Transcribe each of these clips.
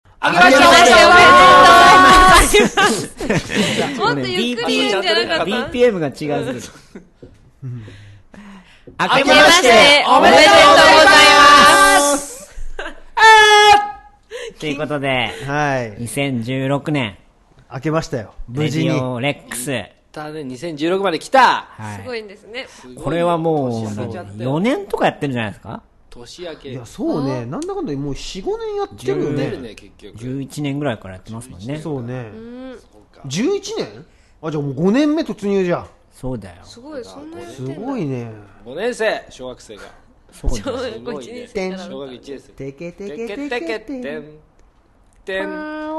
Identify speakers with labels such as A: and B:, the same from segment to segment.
A: あげま
B: あげましょう
A: しょう
C: もっとゆっくり言うんじゃなかった
A: BPM が違うすぎる。あ
B: 明
A: け
B: け
A: ま
B: ま
A: し
B: してて
A: お
B: お
A: め
B: め
A: で
B: で
A: と
B: と
A: う
B: う
A: ご
B: ご
A: ざ
B: ざ
A: い
B: い
A: ますということで、
D: はい。
A: 2016年、
D: 開けましたよ。無
A: レデ
D: 事に。
A: ィ
D: は
A: オレックス。
B: だね、2016まで来た
A: は
C: すごいんですね。
B: すごい
A: これはもう、
B: 年明けちゃった
A: 4
B: よ
A: 年とかやってるんじゃないですか
B: 年明け
D: いや、そうね。なんだかんだもう4、5年やってるよ
B: 出る
D: ね。
B: ね結局
A: ?11 年ぐらいからやってますもんね。
D: そうね。
B: そうか
D: 11年あ、じゃあもう5年目突入じゃん。
A: そうだよ。
C: すごい、そんなやっ
D: す
C: てんだ。
D: ごいね。
B: 5年生小学生が
A: そう
C: 小
A: だよ。
C: 学校1
D: テ
C: 年生
D: ン
C: から
B: 小学1年生
D: てけて
B: テ
D: け
B: ケ
D: て
B: テ
D: け
B: ケテ
D: て。
B: ンテン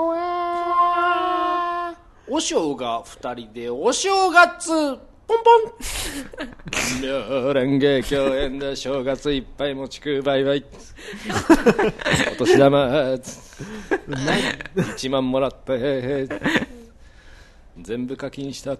B: お正が二人でお正月ポンポン連芸共演で正月いっぱい持ちくバイバイお年玉一万もらって全部課金した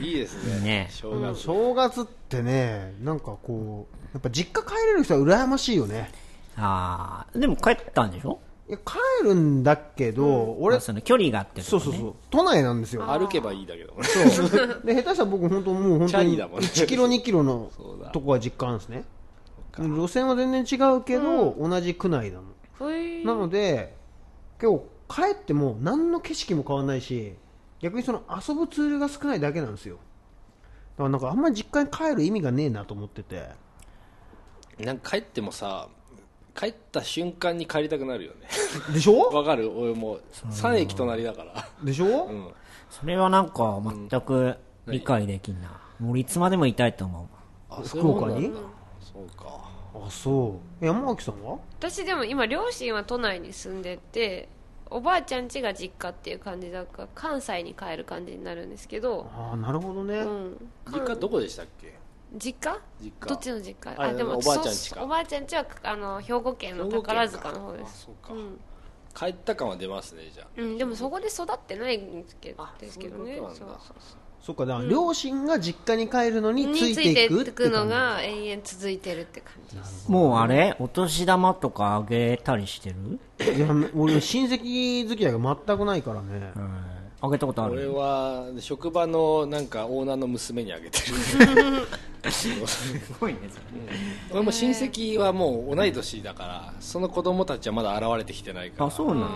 B: いいですね
A: ね
B: 正月
D: 正月ってね、なんかこう、やっぱ実家帰れる人は羨ましいよね。
A: あー、でも帰ったんでしょ
D: いや、帰るんだけど、俺、
A: あその距離があって
D: そうそうそう、都内なんですよ。
B: 歩けばいいだけどね
D: で下手したら僕本当もう本
B: チ
D: 当
B: ャリ
D: に
B: だもんね
D: 1キロ2キロの
B: そうだ
D: とこは実家なんですね路線は全然違うけど、同じ区内だもん
C: ほい
D: なので今日帰っても何の景色も変わらないし逆にその遊ぶツールが少ないだけなんですよだからなんかあんまり実家に帰る意味がねえなと思ってて
B: なんか帰ってもさ帰った瞬間に帰りたくなるよね
D: でしょ
B: わかる俺もう3駅隣だから
D: でしょ、
B: うん
A: それはなんか全く理解できんな。もういつまでもいたいと思
B: あそういう
D: 福
B: もん
D: 岡
B: なんだ
D: に
B: そうか
D: あそう山脇さんは
C: 私でも今両親は都内に住んでておばあちゃん家が実家っていう感じだから関西に帰る感じになるんですけど、
D: ああなるほどね、
C: うん、
B: 実家どこでしたっけ
C: 実家
B: 実家
C: どっちの実家
B: あおばあちゃん家か
C: そうおばあちゃん家はあの兵庫県の宝塚の方で
B: あ
C: す
B: そうか、
C: うん
B: 帰った感は出ますねじゃ
C: うん、でもそこで育ってないんですけど
B: あ
C: ですけどね
B: そういうこと
C: そう
B: なんだ
C: そうそう
D: そっかだから両親が実家に帰るのにつ
C: に
D: い
C: つ
D: て
C: いて
D: い
C: い
D: くっ
C: く
D: て感じ
C: のが延々続いてるって感じです
A: う。もうあれお年玉とかあげたりしてる
D: いや俺親戚付き合いが全くないからね、
A: うん。あげたこと
B: あ
A: あ
B: 俺
A: る
B: は職場のなんかオーナーの娘にあげてる
A: すごいね、
B: 俺も親戚はもう同い年だからその子供たちはまだ現れてきてないから
A: あ、そうなんや。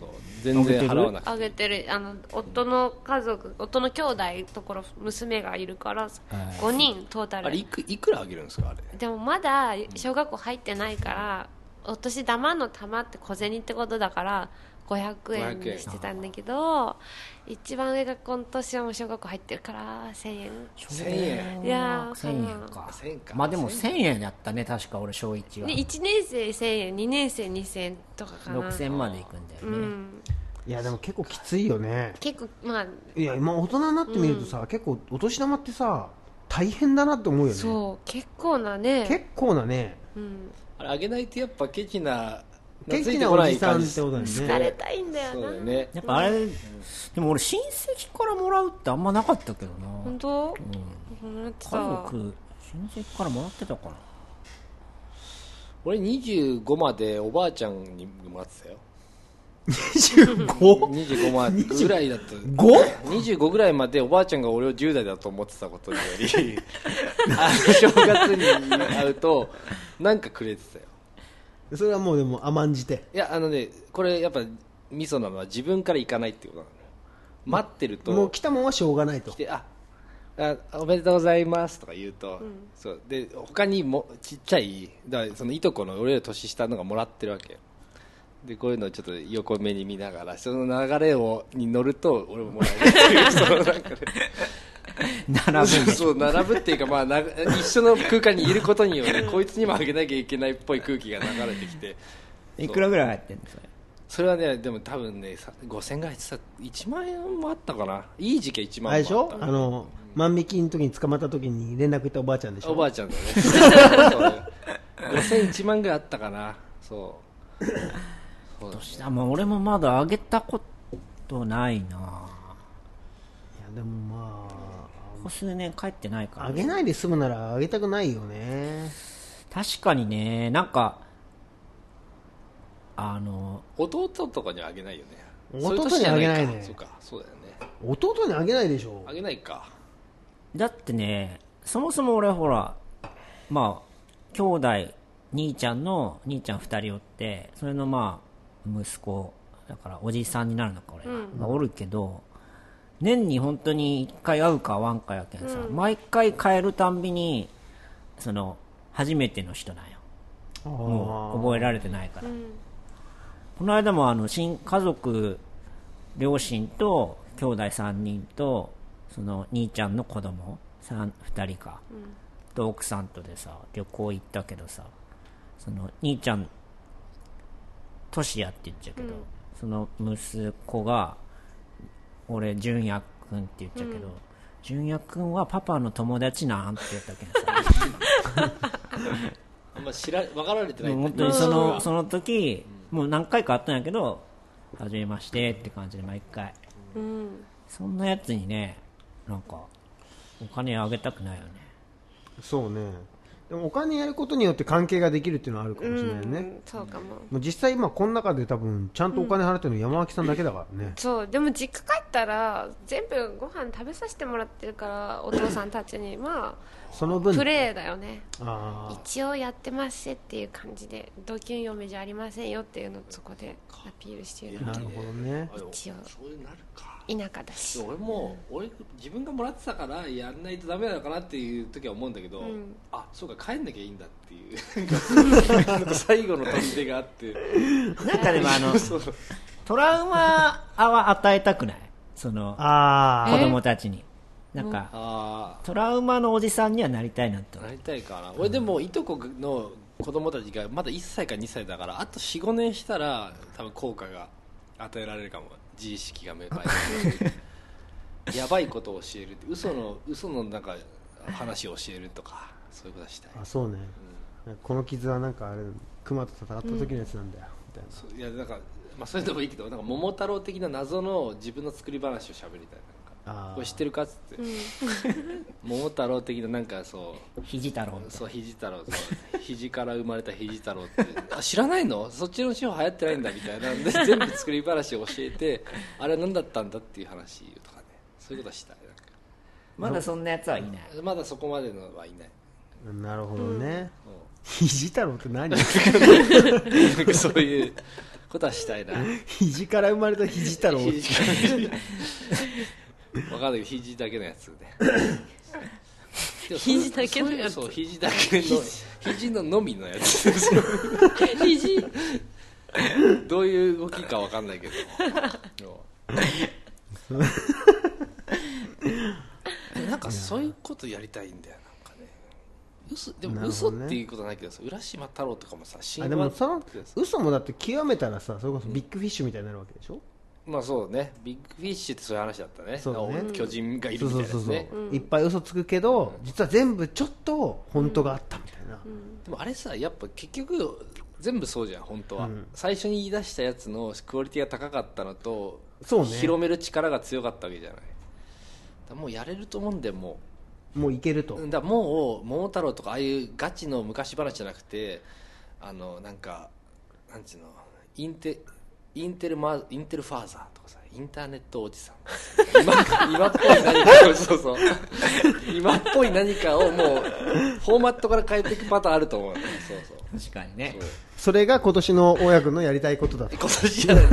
B: そう全然払わなくて
C: あげてるあの夫の家族夫の兄弟ところ娘がいるから5人トータ
B: あれい
C: ル
B: くいくらあげるんですかあれ
C: でもまだ小学校入ってないからお年玉の玉って小銭ってことだから500円にしてたんだけど一番上が今年はもう小学校入ってるから1000円
B: 1000円
C: いやー
A: 1000円か
B: 1000円か
A: まあでも1000円やったね確か俺小1は
C: で1年生1000円2年生2000円とかかな
A: 6000までいくんだよ
C: う
A: ね、
C: ん
D: いやでも結構きついよね
C: 結構まあ
D: いや今大人になってみるとさ、結構お年玉ってさ大変だなって思うよね
C: そう結構なね
D: 結構なね
C: うん
B: あれあげないとやっぱケチな
D: 元気
B: 懐いて
D: な
B: こ
D: お
B: な
D: じ
B: い
D: さ
B: 感
D: ん
B: じ
D: ってことだよ
C: 好かれ
D: ね
C: たいんだ
B: そう
C: よ
B: だ
C: な
B: よね
A: やっぱあれ、でも俺親戚からもらうってあんまなかったけどな
C: 本当うん
A: 家
C: さ
A: 族親戚からもらってたかな
B: 俺25までおばあちゃんにもらってたよ
D: 25?
B: 25までぐらいだと
D: 5?
B: 25ぐらいまでおばあちゃんが俺を10代だと思ってたことによりあの正月に会うとなんかくれてたよ
D: それはもうでも甘んじて
B: いやあのねこれやっぱミソなのは自分から行かないってことなのよ待ってると
D: もう来たもんはしょうがないと
B: 来てああおめでとうございますとか言うと、そうで他にもちっちゃいだからそのいとこの俺より年下のがもらってるわけでこういうのをちょっと横目に見ながらその流れをに乗ると俺ももらえるっていうそのなんかね
A: 並ぶんでしょ
B: そう並ぶっていうか、まあ、な一緒の空間にいることによってこいつにもあげなきゃいけないっぽい空気が流れてきて
A: いくらぐらい入ってんのそれ
B: それはねでも多分ねさ5000ぐらいさ1万円もあったかないい時期は1万
D: あれでし
B: 円もあっ
D: ょ
B: た
D: あの万引きの時に捕まった時に連絡行ったおばあちゃんでしょ
B: おばあちゃんだね そう5000、1万ぐらいあったかな、 そうそうだね
A: 年玉俺もまだあげたことないない
D: やでもま
A: ここ数年帰ってないか
D: あ
A: ら
D: あげないで済むならあげたくないよね
A: 確かにねなんかあの
B: 弟とかにはあげないよね
D: 弟
B: そうう年じゃ
D: にはあげないね
B: かそうかそうだよね
D: 弟にあげないでしょ
B: あげないか
A: だってねそもそも俺ほらまあ兄弟兄ちゃんの兄ちゃん2人おってそれのまあ息子だからおじさんになるのか俺が、まあ、おるけど年に本当に1回会うか会わんかやけんさ、毎回変えるたんびにその初めての人なんよ
D: あ
A: もう
D: ー
A: 覚えられてないから、この間もあの新家族両親と兄弟3人とその兄ちゃんの子供三2人か、と奥さんとでさ旅行行ったけどさその兄ちゃんトシヤって言っちゃうけど、その息子が俺純也君って言っちゃうけど、純也君はパパの友達なんって言ったけどさ
B: あんま知ら分かられてない
A: もう本当にそのその時、もう何回かあったんやけど初めましてって感じで毎回
C: うん
A: そんなやつにねなんかお金あげたくないよね
D: そうねでもお金やることによって関係ができるっていうのはあるかもしれないね、
C: うんそうかも
D: もう実際今この中で多分ちゃんとお金払ってるの山脇さんだけだからね、
C: そうでも実家帰ったら全部ご飯食べさせてもらってるからお父さんたちにま
D: その
C: あ
D: 分
C: プレーだよね
D: あ
C: 一応やってますしっていう感じで同級嫁じゃありませんよっていうのをそこでアピールしてる
D: あなるほどね
B: あでも
C: 一応
B: そういうのなるか
C: 田舎だし
B: 俺も俺自分がもらってたからやんないとダメなのかなっていう時は思うんだけど、
C: ん
B: あそうか帰んなきゃいいんだっていう なんか最後の砦があって
A: なんかでもあの
B: そう
A: トラウマは与えたくないその
D: あ
A: 子
D: ー
A: 供たちになんか
B: あ
A: トラウマのおじさんにはなりたいなって
B: あ
A: 思う
B: なりたいかな俺でもいとこの子供たちがまだ1歳か2歳だからあと45年したら多分効果が与えられるかも自意識が芽生 えるやばいことを教えるって嘘の嘘のなんか話を教えるとかそういうことはしたい
D: あそうね、この傷はなんかあれ熊と戦った時のやつなんだよ、みたいない
B: やなんか、まあ、それでもいいけどなんか桃太郎的な謎の自分の作り話を喋りたいなん
D: あ
B: か
D: ー
B: これ知ってるかっつって、 桃太郎的ななんかそう
A: 肘太郎みたい
B: そう肘太郎そう肘から生まれた肘太郎ってあ知らないのそっちの地方流行ってないんだみたいなんで全部作り話を教えてあれは何だったんだっていう話とかねそういうことはしたいなんか
A: まだそんなやつはいない
B: まだそこまでのはいない
D: なるほどね、
B: も
D: 肘太郎って 何
B: う なんかそういうことはしたいな
D: 肘から生まれた肘 太郎
B: 肘わかんないけど肘だけのや つねでもそれ
C: 肘だけのやつ
B: そうそう肘だけの肘ののみのやつ
C: 肘
B: どういう動きかわかんないけどでもでもなんかそういうことやりたいんだよなんかね嘘で
D: な
B: も
D: る
B: 嘘
D: ほ
B: っ
D: どね
B: ていうことはないけどさ浦島太郎とかもさ神
D: あで
B: 話
D: もその
B: ってさ
D: 嘘もだって極めたらさそれこそビッグフィッシュみたいになるわけでしょ、
B: まあそうねビッグフィッシュってそういう話だったね
D: そうね
B: 巨人がいる
D: そう
B: みた
D: そ
B: いうなやつ
D: そ
B: ね
D: うそう、いっぱい嘘つくけど実は全部ちょっと本当があったみたいな、
B: でもあれさやっぱ結局全部そうじゃん本当は、
D: うん
B: 最初に言い出したやつのクオリティが高かったのと
D: そうね
B: 広める力が強かったわけじゃないだからもうやれると思うんでも
D: もういけると、
B: うだからもう桃太郎とかああいうガチの昔話じゃなくてあのなんかなんちゅうのインテインテルマインテルファーザーとかさインターネットおじさん今今っぽい何かをそうそう今っぽい何かをもうフォーマットから変えていくパターンあると思うそうそう
A: 確かにね
D: それが今年の親君のやりたいことだと
B: 今年じゃない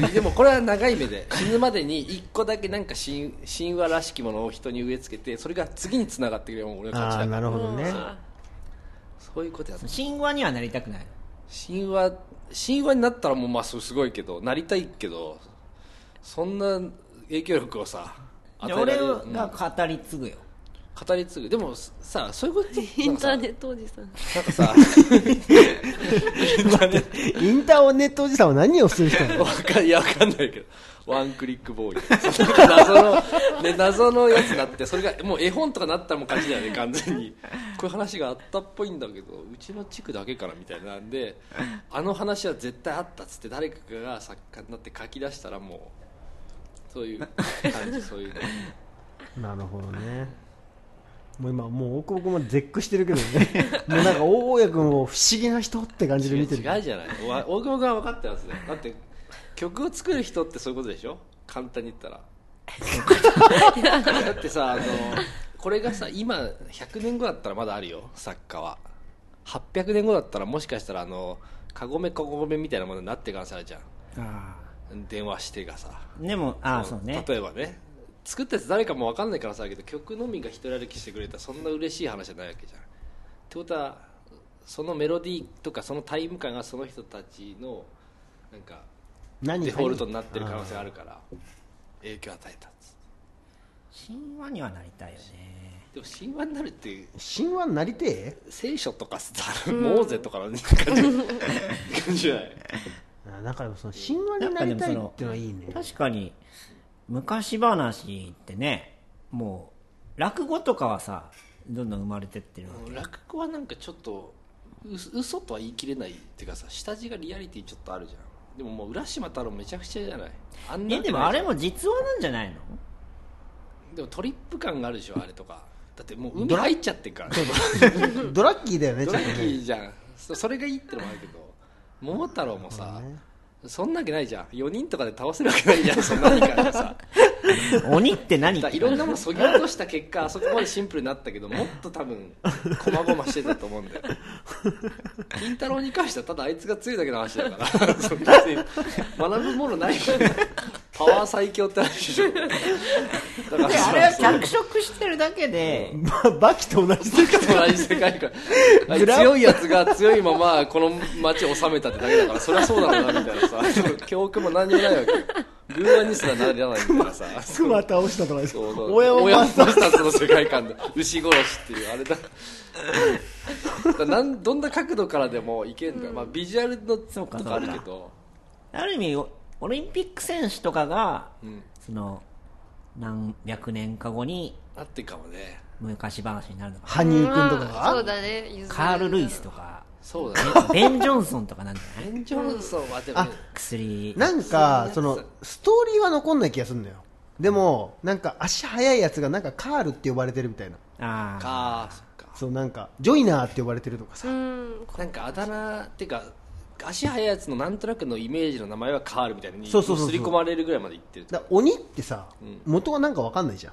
B: なでもこれは長い目で死ぬまでに一個だけなんか神神話らしきものを人に植え付けてそれが次につながってくれるもう俺の
D: ああ
B: 勝ち
D: な
B: だ
D: るほどね、
B: そういうことや
A: 神話にはなりたくない
B: 神話神話になったらもうまあそうすごいけどなりたいけどそんな影響力をさ
A: じゃあ
B: 与
A: 俺
B: えられる
A: が語り継ぐよ、
B: うん語り継ぐでもさそういうこと
C: インター
B: ッ
C: ネットおじさん
B: トなんかさ
D: インターネットおじさんは何をする人 なの
B: わかんいやわかんないけどワンクリックボーイその謎の、ね、謎のやつになってそれがもう絵本とかなったらもう勝ちだよね完全にこういう話があったっぽいんだけどうちの地区だけかなみたいなんであの話は絶対あったっつって誰かが作家になって書き出したらもうそういう感じそういうの
D: なるほどねもう今もう大久保君も絶句してるけどね もうなんか大家君を不思議な人って感じで
B: 違
D: 見
B: う
D: てる
B: じゃないわ大久保君は分かってますねだって曲を作る人ってそういうことでしょ簡単に言ったら だってさあのこれがさ今100年後だったらまだあるよ作家は800年後だったらもしかしたらあのカゴメカゴメみたいなものになってからさじゃ
A: あ
B: ん電話してがさ
A: ーでもあーそうね
B: 例えばね作ったやつ誰かも分かんないからさけど曲のみが一人歩きしてくれたらそんな嬉しい話じゃないわけじゃんってことはそのメロディーとかそのタイム感がその人たちのなんか
D: 何
B: デフォルトになってる可能性があるから影響を与えたっつ
A: 神話にはなりたいよね
B: でも神話になるって
D: 神話になりてえ
B: 聖書とかさモーゼとかの 感じ感じじゃない
D: あなんかでもその神話になりたいっていうのはいいね
A: 確かに昔話ってねもう落語とかはさどんどん生まれてってるわけ
B: 落語はなんかちょっとう嘘とは言い切れないっていうかさ下地がリアリティちょっとあるじゃんでももう浦島太郎めちゃくちゃじゃないあんな
A: え
B: わ
A: で
B: けない
A: もあ
B: じゃん
A: れも実話なんじゃないの
B: でもトリップ感があるでしょあれとかだってもう海入っちゃっ てるからね
D: ドラッキーだよね
B: ド
D: ちょっ
B: ラ
D: と
B: ッキ
D: ね
B: ーじゃんそそれがいいってのもあるけど桃太郎もさ、
D: そうね
B: そんなわけないじゃん4人とかで倒せるわけないじゃんそんなに感じさ
A: 鬼って何
B: だ
A: っ
B: から
A: て
B: いろんなものそぎ落とした結 果あそこまでシンプルになったけどもっと多分こまごましてたと思うんだよ金太郎に関してはただあいつが強いだけの話だからそう別に学ぶものないからパワー最強って話でしょだから
A: であれは脚色してるだけで、
D: まバキと同じだけど
B: 同じ世界観あれ強いやつが強いままこの街を治めたってだけだからそりゃそうだろうなみたいなさ教訓も何にもないわけよ偶話にすらなりゃないみたいなさ
D: クマ倒したとかでし
B: そうそ
D: ょ
B: う
D: 親を
B: 親を
D: 回す
B: マスターズの世界観で牛殺しっていうあれだ だからなんどんな角度からでもいけんだ、まあ、ビジュアルの
A: そ
B: と
A: うか
B: かあるけ
A: そ
B: ど
A: ある意味おオリンピック選手とかが、
B: ん
A: その何百年か後に
B: あってかもね
A: 昔話になるのか
D: 羽生君とか
C: まあそう
D: が
C: だねゆず
A: カール・ルイスとか
B: そ うだね
A: ベン・ジョンソンとかなんじゃな
B: エ
A: い
B: ンジョンソンはでも
D: あ
B: ね
A: 薬
D: なんかそのストーリーは残んない気がするんだよでもなんか足速いやつがなんかカールって呼ばれてるみたいな
A: あー
B: かそっか
D: そうなんかジョイナーって呼ばれてるとかさ
C: うん
B: なんかあだ名っていうか足速いやつのなんとなくのイメージの名前は変わるみたいなに
D: そうそうそうそう
B: 刷り込まれるぐらいまでいってる
D: だ鬼ってさ元はなんかわかんないじゃん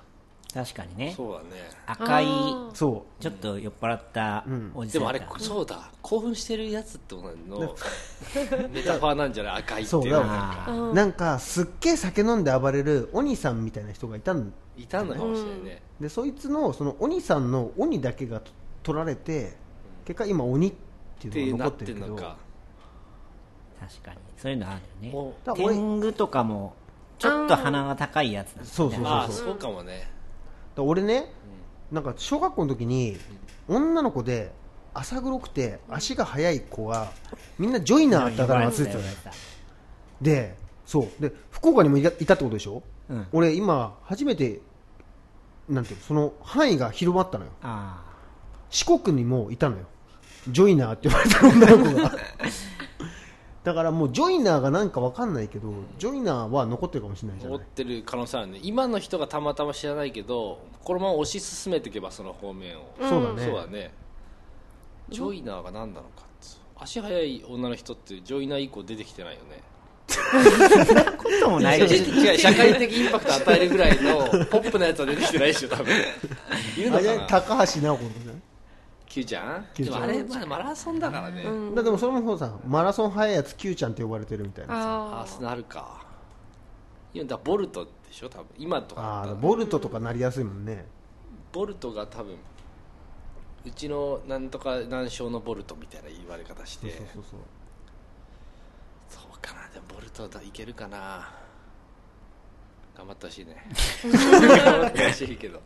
A: 確かにね
B: そうだね
A: 赤い
C: あ
D: そ
A: ちょっと酔っ払ったおじさ
B: で
A: ん
B: もあ
A: だった
B: れそうだ興奮してるやつってことの メタファーなんじゃない赤いって
D: そ
B: いうう
D: だ
B: な
D: か
B: ん
D: ら
B: か
D: なんかすっげえ酒飲んで暴れる鬼さんみたいな人がいたん
B: いたのかもしれないね
D: でそいつのその鬼さんの鬼だけがと取られて結果今鬼って
B: っ
D: い
B: て
D: うのが
B: なっ
D: 残って
B: て
D: る
B: ん
D: け
B: の
D: ど
B: か
A: 確かにそういうのあるよね
B: も
D: だから俺
A: 天狗とかもちょっと鼻が高いやつなんだよね
D: そうそうそ
B: う
D: う
B: ああそうかもね
D: だ俺ね、なんか小学校の時に女の子で朝黒くて足が速い子はみんなジョイナーだから忘れてたのよでそうで福岡にもいたいたってことでしょ、
A: うん
D: 俺今初めてなんていうのその範囲が広まったのよ
A: あ
D: 四国にもいたのよジョイナーって言われた女の 子がだからもうジョイナーがなんかわかんないけどジョイナーは残ってるかもしれないじゃな
B: 追
D: い
B: ってる可能性あるね今の人がたまたま知らないけどこのまま推し進めていけばその方面を
D: そうだね
B: そうだねジョイナーが何なのかっつう足速い女の人ってジョイナー以降出てきてないよね
A: あこともない
B: 違う
A: よ
B: 違う社会的インパクト与えるぐらいのポップなやつは出てきてないでしょ多分いるの
D: あれ
B: かな
D: 高橋尚子のことじゃない
B: Q ちゃん
D: キュー
B: で
D: ちゃ
B: も
D: ん
B: あれ、まあ、マラソンだからね、
D: だでもそれもそうさマラソン速いやつ Q ちゃんって呼ばれてるみたいなさ
B: あ
C: あ
B: あそうなるかいやだからボルトでしょ多分今とかだ
D: あ
B: ったら
D: ーボルトとかなりやすいもんね、
B: ボルトが多分うちのなんとか難症のボルトみたいな言われ方して
D: そうそうそう
B: そうかなでもボルトだいけるかな頑張ってほしいね 頑張ってほしいけど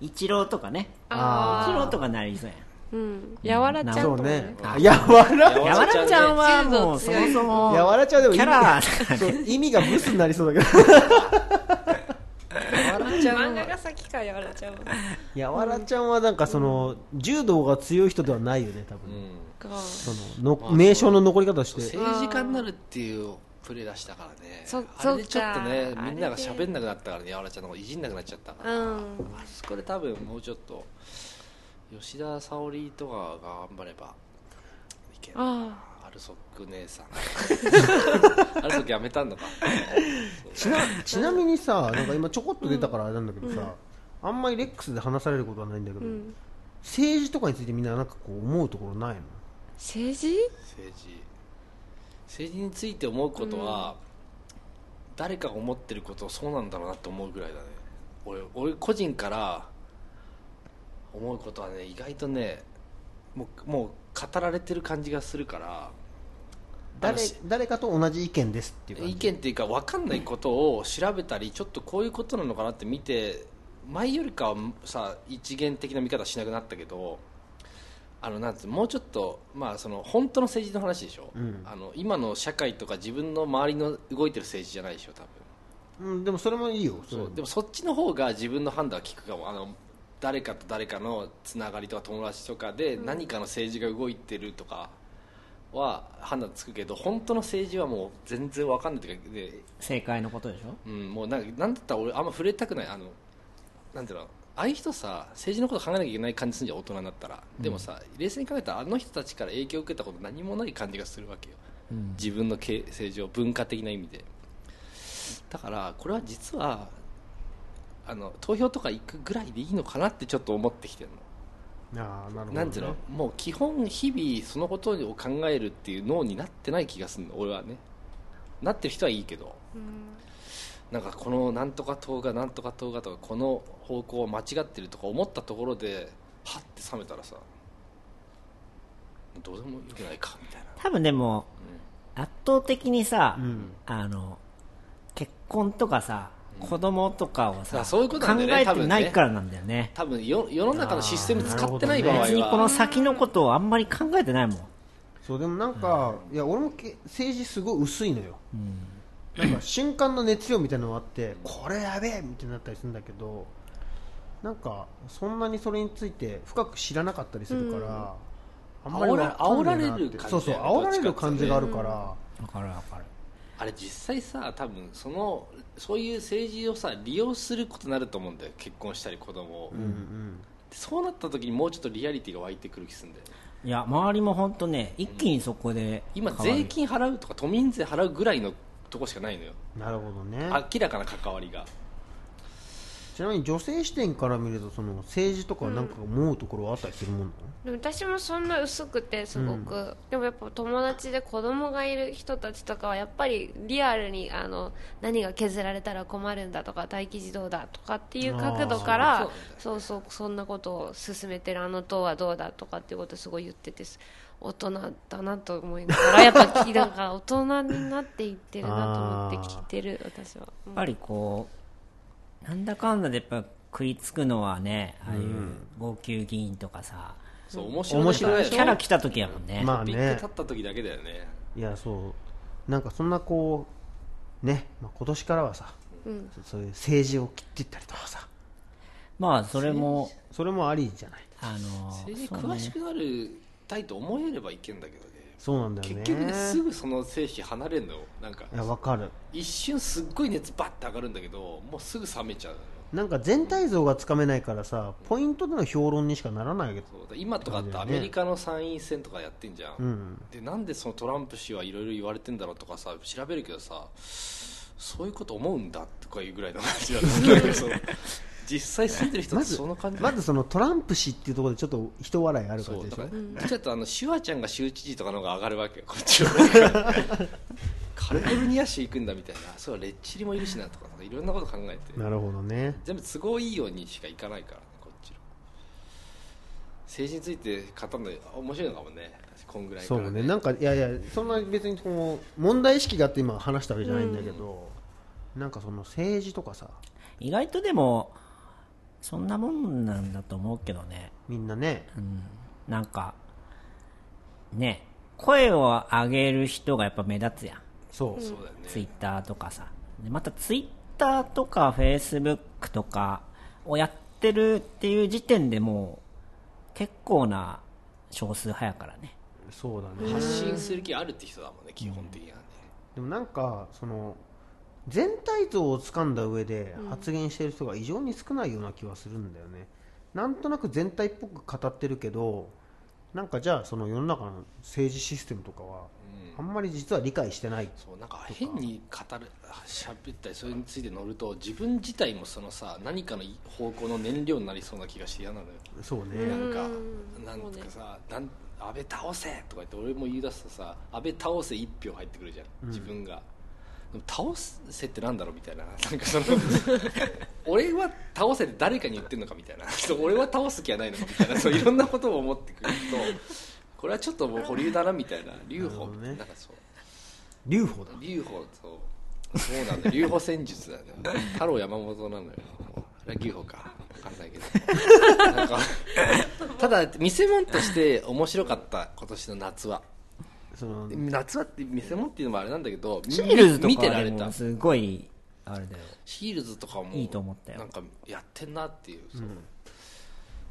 A: イチローとかねイチロー
C: あ
A: とかなりそうやん
C: うんやわらちゃん
D: そう
C: とか
D: ね
C: ね
D: あやわら
A: やわらちゃんはもうそ
C: 柔道
A: も
C: 強い
A: そも
D: やわらちゃんでも
A: キ
D: 意
A: ャラ
D: 味そう意味がブスになりそうだけ
B: やわらちゃんは
C: 漫画が先かやわらちゃんは
D: どやわらちゃんはなんかその柔道が強い人ではないよね多分、
B: うん
C: か
D: そのの名称の残り方として
B: 政治家になるっていうプレー出したからね
C: そ
B: あれでちょっと
C: そ
B: ね
C: っか
B: みんなが喋んなくなったからねやわらちゃんのこといじんなくなっちゃったから、
C: うん
B: あそこで多分もうちょっと吉田沙保里とかが頑張ればいける
C: あ
B: アルソック姉さんアルソックやめたんだか
D: ちなちなみにさなんか今ちょこっと出たからあれなんだけどさ、あんまりレックスで話されることはないんだけど、
C: ん
D: 政治とかについてみんななんかこう思うところないの
C: 政治
B: 政治政治について思うことは、誰かが思ってることをそうなんだろうなって思うぐらいだね俺俺個人から思うことはね意外とねもうもう語られてる感じがするから
D: 誰
B: あのし
D: 誰かと同じ意見ですっていう感じ
B: 意見っていうか分かんないことを調べたりちょっとこういうことなのかなって見て前よりかはさ一元的な見方しなくなったけどあのなんつうもうちょっと、まあ、その本当の政治の話でしょ、
D: うん
B: あの今の社会とか自分の周りの動いてる政治じゃないでしょ多分
D: うん、でもそれもいいよ
B: そうで
D: も
B: もそっちの方が自分の判断は聞くかもあの誰かと誰かのつながりとか友達とかで何かの政治が動いてるとかは判断つくけど本当の政治はもう全然分かんないというかで
A: 正解のことでしょ
B: うん、もうなんかなんだったら俺あんま触れたくないあのなんていうのああいう人さ政治のこと考えなきゃいけない感じするじゃん大人になったら、でもさ冷静に考えたらあの人たちから影響を受けたこと何もない感じがするわけよ、自分の経政治を文化的な意味でだからこれは実はあの投票とか行くぐらいでいいのかなってちょっと思ってきてるの
D: あーなるほど、ね、
B: なんていうのもう基本日々そのことを考えるっていう脳になってない気がするの俺はねなってる人はいいけど、なんかこのなんとか党がなんとか党がとかこの方向は間違ってるとか思ったところではって冷めたらさどうでもよくないかみたいな
A: 多分でも、圧倒的にさ、
D: ん
A: あの結婚とかさ子供とかを
B: だか
A: さ、
B: らそういうことなんだよね
A: 考えてないからなんだよね
B: 多分よ世の中のシステム使ってない
D: あー
B: 場合
D: な
B: は
D: るほ
A: 別にこの先のことをあんまり考えてないもん
D: そうでもなんか、いや俺もけ政治すごい薄いのよ、なんか瞬間の熱量みたいなのがあってこれやべえみたいになったりするんだけどなんかそんなにそれについて深く知らなかったりするから、あんまりわかんねえなって
B: 煽られる感じだよね
D: そうそう煽られる感じがあるから、
A: わかるわかる
B: あれ実際さ多分そのそういう政治をさ利用することになると思うんだよ結婚したり子供を、
D: うんうん
B: そうなった時にもうちょっとリアリティが湧いてくる気するんだよね
A: いや周りも本当ね一気にそこで
B: 今
A: 変わる
B: 税金払うとか都民税払うぐらいのとこしかないのよ
D: なるほどね
B: 明らかな関わりが
D: ちなみに女性視点から見るとその政治とかなんか思うところはあったりするもんなの、
C: でも私もそんな薄くてすごく、でもやっぱ友達で子供がいる人たちとかはやっぱりリアルにあの何が削られたら困るんだとか待機児童だとかっていう角度から
B: あー
C: そうそうそんなことを進めてるあの党はどうだとかっていうことをすごい言ってて大人だなと思いながらやっぱ聞いなんか大人になっていってるなと思って聞いてる私は、
A: やっぱりこうなんだかんだでやっぱ食いつくのはねああいう号泣議員とかさ、
B: そう面白い
D: 面白い
A: キャラ来た時やもんね、
D: まあ
B: ピッ
D: ね
B: て立った時だけだよね
D: いやそうなんかそんなこうね、まあ、今年からはさ、そそういう政治を切っていったりとかさ
A: まあそれも
D: それもありじゃない
A: あの
B: 政治
A: そう
B: 詳
A: ね
B: しくなるたいと思えればいけんだけどね
D: そうなんだよね
B: 結局ねすぐその精神離れるのよなんか
D: いやわかる
B: 一瞬すっごい熱バッて上がるんだけどもうすぐ冷めちゃうのよ
D: なんか全体像がつかめないからさポイントでの評論にしかならないけど
B: そうだ今とかってアメリカの参院選とかやってんじゃん、
D: ん
B: でなんでそのトランプ氏はいろいろ言われてんだろうとかさ調べるけどさそういうこと思うんだとかいうぐらいの話だねなん かその実際住んでる人っ
D: ま
B: て
D: ず
B: その感じ
D: まずそのトランプ氏っていうところでちょっと人笑いある感
B: そ
D: じで
B: うだ
D: しょ
B: から、ちょっとあのシュワちゃんが州知事とかの方が上がるわけよこっちは カリフォルニア州行くんだみたいなそうレッチリもいるしなとかなんかいろんなこと考えて
D: なるほどね
B: 全部都合いいようにしかいかないからねこっちの政治について語るの面白いのかもねこんぐらいか
D: そ
B: ら、
D: うねなんかいやいやそんな別にこう問題意識があって今話したわけじゃないんだけど、なんかその政治とかさ
A: 意外とでもそんなもんなんだと思うけどね
D: みんなね、
A: なんかね声を上げる人がやっぱ目立つやん
D: そう、
B: そうだよね
A: ツイッターとかさでまたツイッターとかフェイスブックとかをやってるっていう時点でもう結構な少数派やからね
D: そうだね
B: 発信する気あるって人だもんね基本的にはね、
D: でもなんかその全体像をつかんだ上で
C: うん
D: 発言してる人が異常に少ないような気はするんだよね、なんとなく全体っぽく語ってるけどなんかじゃあその世の中の政治システムとかはあんまり実は理解してない
B: そうなんか変に語る喋ったりそれについて乗ると自分自体もそのさ何かの方向の燃料になりそうな気がして嫌なのよ
D: そうね、
B: なんか
C: うん
B: なんかさ「なん安倍倒せ!」とか言って俺も言い出すとさ「安倍倒せ」一票入ってくるじゃん、自分が。でも倒せってなんだろうみたいな なんかその俺は倒せって誰かに言ってるのかみたいな そう俺は倒す気はないのかみたいなそういろんなことを思ってくるとこれはちょっともう保留だなみたいな
D: な
B: 留保
D: るほどね
B: なんかそう
D: 留保だ
B: 劉邦とそうなんだ劉邦戦術だよ太郎山本なのよあれ劉邦か分かんないけどなんかただ見せ物として面白かった今年の夏は
D: その
B: 夏はって見せ物っていうのもあれなんだけど
A: シールズと
B: 見て
A: から
B: れ
A: で
B: た
A: もすごいあれだよ
B: シールズとかも
A: いいと思ったよ
B: なんかやってんなっていう、そう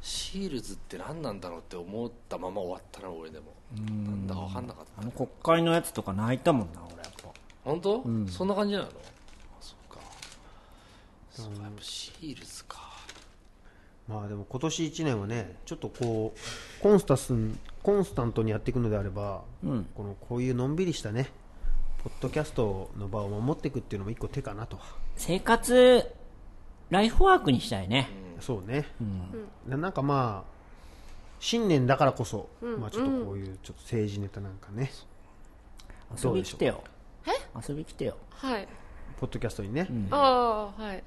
B: シールズって何なんだろうって思ったまま終わったな俺でもなんだか分かんなかっ
A: あ
B: た
A: の国会のやつとか泣いたもんな俺やっぱ
B: 本当、そんな感じなのあそうかそうかやっぱシールズか
D: まあでも今年1年はねちょっとこうコンスタスンコンスタントにやっていくのであれば、このこういうのんびりしたねポッドキャストの場を守っていくっていうのも一個手かなと、
A: 生活ライフワークにしたいね、
D: そうね、ななんかまあ新年だからこそ、まあちょっとこういうちょっと政治ネタなんかね、
A: 遊び来てよえ遊び来てよ
C: はい
D: ポッドキャストにね、
C: ああはい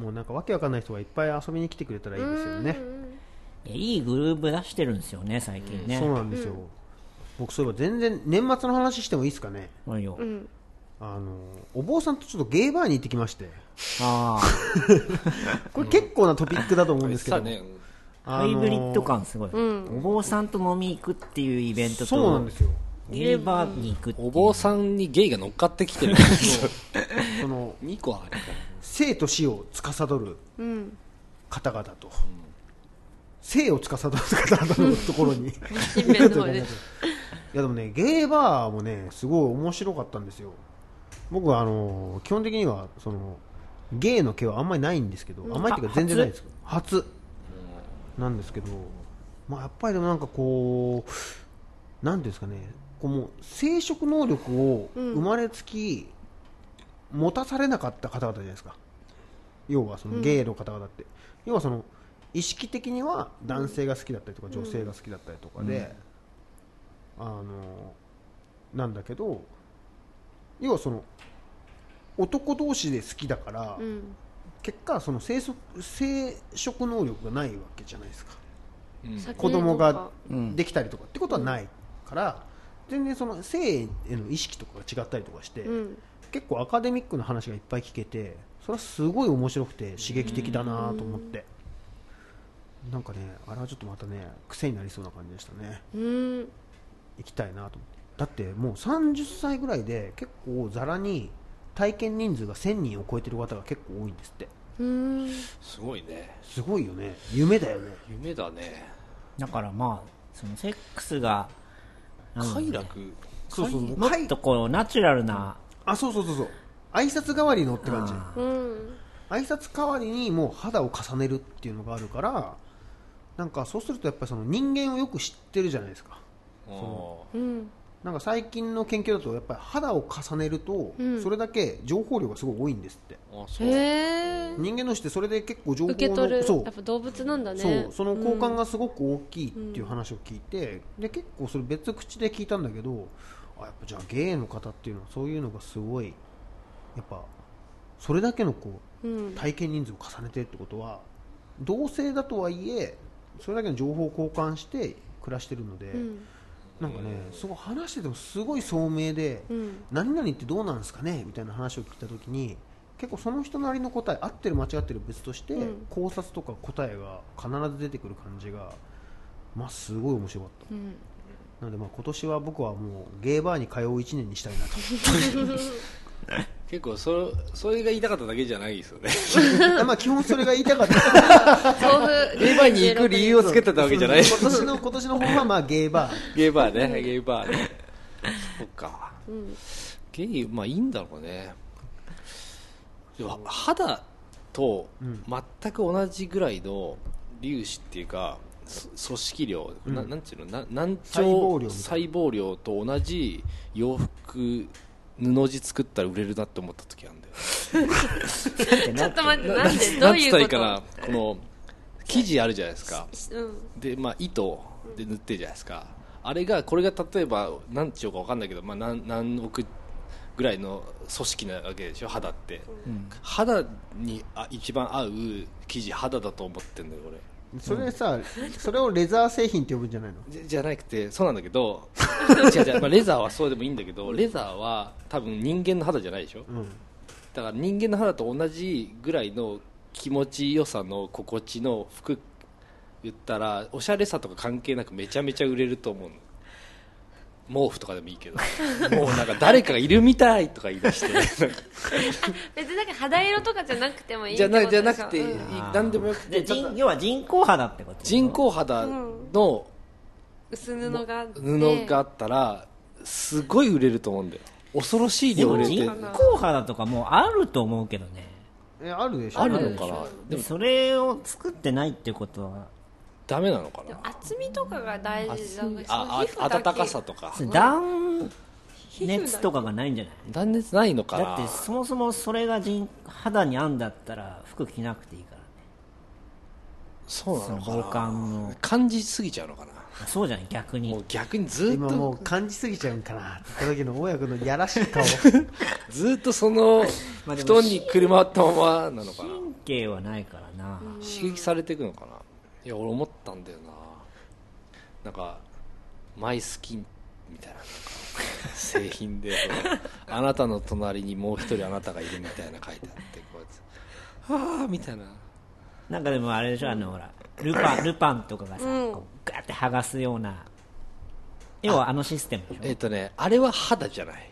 D: もうなんかわけわかんない人がいっぱい遊びに来てくれたらいいですよね、
A: いやいいグループ出してるんですよね最近ね、
D: そうなんですよ、僕そういえば全然年末の話してもいいですかね
A: まあいいよ
D: あのお坊さんとちょっとゲイバーに行ってきまして
A: あ
D: これ結構なトピックだと思うんですけ
B: さ
D: ど、
B: あね
A: あ
D: あ
A: ハ
D: の
A: イブリッド感すごい、お坊さんと飲み行くっていうイベントと
D: そうなんですよ
A: ゲーバーに行くっていう
B: お坊さんにゲイが乗っかってきてる
D: その
B: 2個あるから
D: 生と死を司る 方々と、生を司る方々のところに
C: 新名の方
D: い
C: で
D: やでもねゲイバーもねすごい面白かったんですよ僕はあの基本的にはそのゲイの毛はあんまりないんですけど、あんまりっていうか全然ないんですけど初なんですけど、まあ、やっぱりでもなんかこうなんていうんですかねこうもう生殖能力を生まれつき持たされなかった方々じゃないですか要はそのゲイの方々って、要はその意識的には男性が好きだったりとか女性が好きだったりとかで、あのなんだけど要はその男同士で好きだから、
C: うん
D: 結果その生殖生殖能力がないわけじゃないですか
B: うん
C: 先
D: 子供
C: とか
D: が
A: うん
D: できたりとかってことはないから、全然その性への意識とかが違ったりとかして、
C: うん
D: 結構アカデミックな話がいっぱい聞けてそれはすごい面白くて刺激的だなと思って、なんかねあれはちょっとまたね癖になりそうな感じでしたね
C: うん
D: 行きたいなと思ってだってもう30歳ぐらいで結構ざらに体験人数が1000人を超えてる方が結構多いんですって
C: うん
B: すごいね
D: すごいよね夢だよね
B: 夢だね
A: だからまあそのセックスがなんだろ
B: 快
A: うね
B: 楽
D: そうそうそう
A: もっとこうナチュラルな
D: あそうそうそうそう挨拶代わりのって感じ
A: あ
C: うん
D: 挨拶代わりにもう肌を重ねるっていうのがあるからなんかそうするとやっぱりその人間をよく知ってるじゃないですか
B: そ
C: うん
D: なんか最近の研究だとやっぱり肌を重ねると
C: うん
D: それだけ情報量がすごい多いんですって、
B: うあそう
C: へえ
D: 人間のしてそれで結構情報の
C: 受け取る
D: そう
C: やっぱ動物なんだね
D: そうその交換がすごく大きいっていう話を聞いて、で結構それ別口で聞いたんだけどあやっぱじゃあゲイの方っていうのはそういうのがすごいやっぱそれだけのこ
C: う
D: うん体験人数を重ねてるってことは同性だとはいえそれだけの情報を交換して暮らしてるので、
C: うん
D: なんかねすごい話しててもすごい聡明で、
C: うん
D: 何々ってどうなんですかねみたいな話を聞いた時に結構その人なりの答え合ってる間違ってる別として、
C: うん
D: 考察とか答えが必ず出てくる感じがまあすごい面白かった
C: うん
D: なのでまあ今年は僕はもうゲーバーに通う1年にしたいなと
B: 結構そそれが言いたかっただけじゃないですよね
D: まあ基本それが言いたかった
C: 豆腐
B: ゲイバーに行く理由をつけてたわけ じゃない
D: 今年の今年の方はまあゲーバー
B: ゲイバーねゲイバーねそっかゲイまあいいんだろうねでも肌と全く同じぐらいの粒子っていうか、そ組織量、ななんていうのな難
D: 細胞量み
B: 聴
D: たいな
B: 細胞量と同じ洋服布地作ったら売れるなって思った時あるんだよ
C: ちょっと待って、なんで、ど
B: な
C: うん
B: つ
C: いうこ
B: ったらい
C: と
B: いかなこの生地あるじゃないですか
C: うん。
B: で、まあ、糸で塗ってるじゃないですか、あれがこれが例えば何兆か分かんないけど、まあ、何何億ぐらいの組織なわけでしょ肌って、肌にあ一番合う生地肌だと思ってんだよ俺
D: それさ、それをレザー製品って呼ぶんじゃないの
B: じゃじゃなくてそうなんだけど違う違う、まあ、レザーはそうでもいいんだけどレザーは多分人間の肌じゃないでしょ
D: うん
B: だから人間の肌と同じぐらいの気持ちよさの心地の服言ったらおしゃれさとか関係なくめちゃめちゃ売れると思うの毛布とかでもいいけ どもうなんか誰かがいるみたいとか言い出して
C: 別になんか肌色とかじゃなくてもいいっ
B: じゃな
C: て
B: い
C: こと
B: じ
C: で
B: ゃ
C: しょ
B: なくて、
C: うん
B: 何でもよくて
A: で人要は人工肌ってこと
B: 人工肌の
C: 薄布があって。
B: 布があったらすごい売れると思うんだよ恐ろしい
A: で
B: 量売
A: も
B: れて
A: 人工肌とかもうあると思うけどね
D: えあるでしょ
B: あるのかなで
A: で
B: も
A: それを作ってないってことは
B: ダメなのかな
C: 厚みとかが大事だからその
B: あ
C: 皮膚
B: あ
C: だけ
B: 暖かさとか
A: それ断
C: 皮膚だけ
A: 熱とかがないんじゃない
B: 断熱ないのかな
A: だってそもそもそれが人肌に合うんだったら服着なくていいからね
B: そうな
A: その
B: のか
A: 防寒の
B: な感じすぎちゃうのかな
A: あそうじゃない逆
B: も
A: に
B: う逆にずっ
D: 今も
B: と
D: う感じすぎちゃうんかなって言った時の親子のやらしい 顔
B: ずっとその
A: まあで
B: 布
A: も
B: 団にくるまったままなのかな
A: 神経はないからな、
B: 刺激されていくのかないや俺思ったんだよななんかマイスキンみたいななんか製品でこうあなたの隣にもう一人あなたがいるみたいな書いてあってこうやってああみたいな
A: なんかでもあれでしょあのほらルパン ルパンとかがさ、
C: うん
A: こうガーって剥がすような要はあのシステムで
B: え
A: し
B: っとねあれは肌じゃない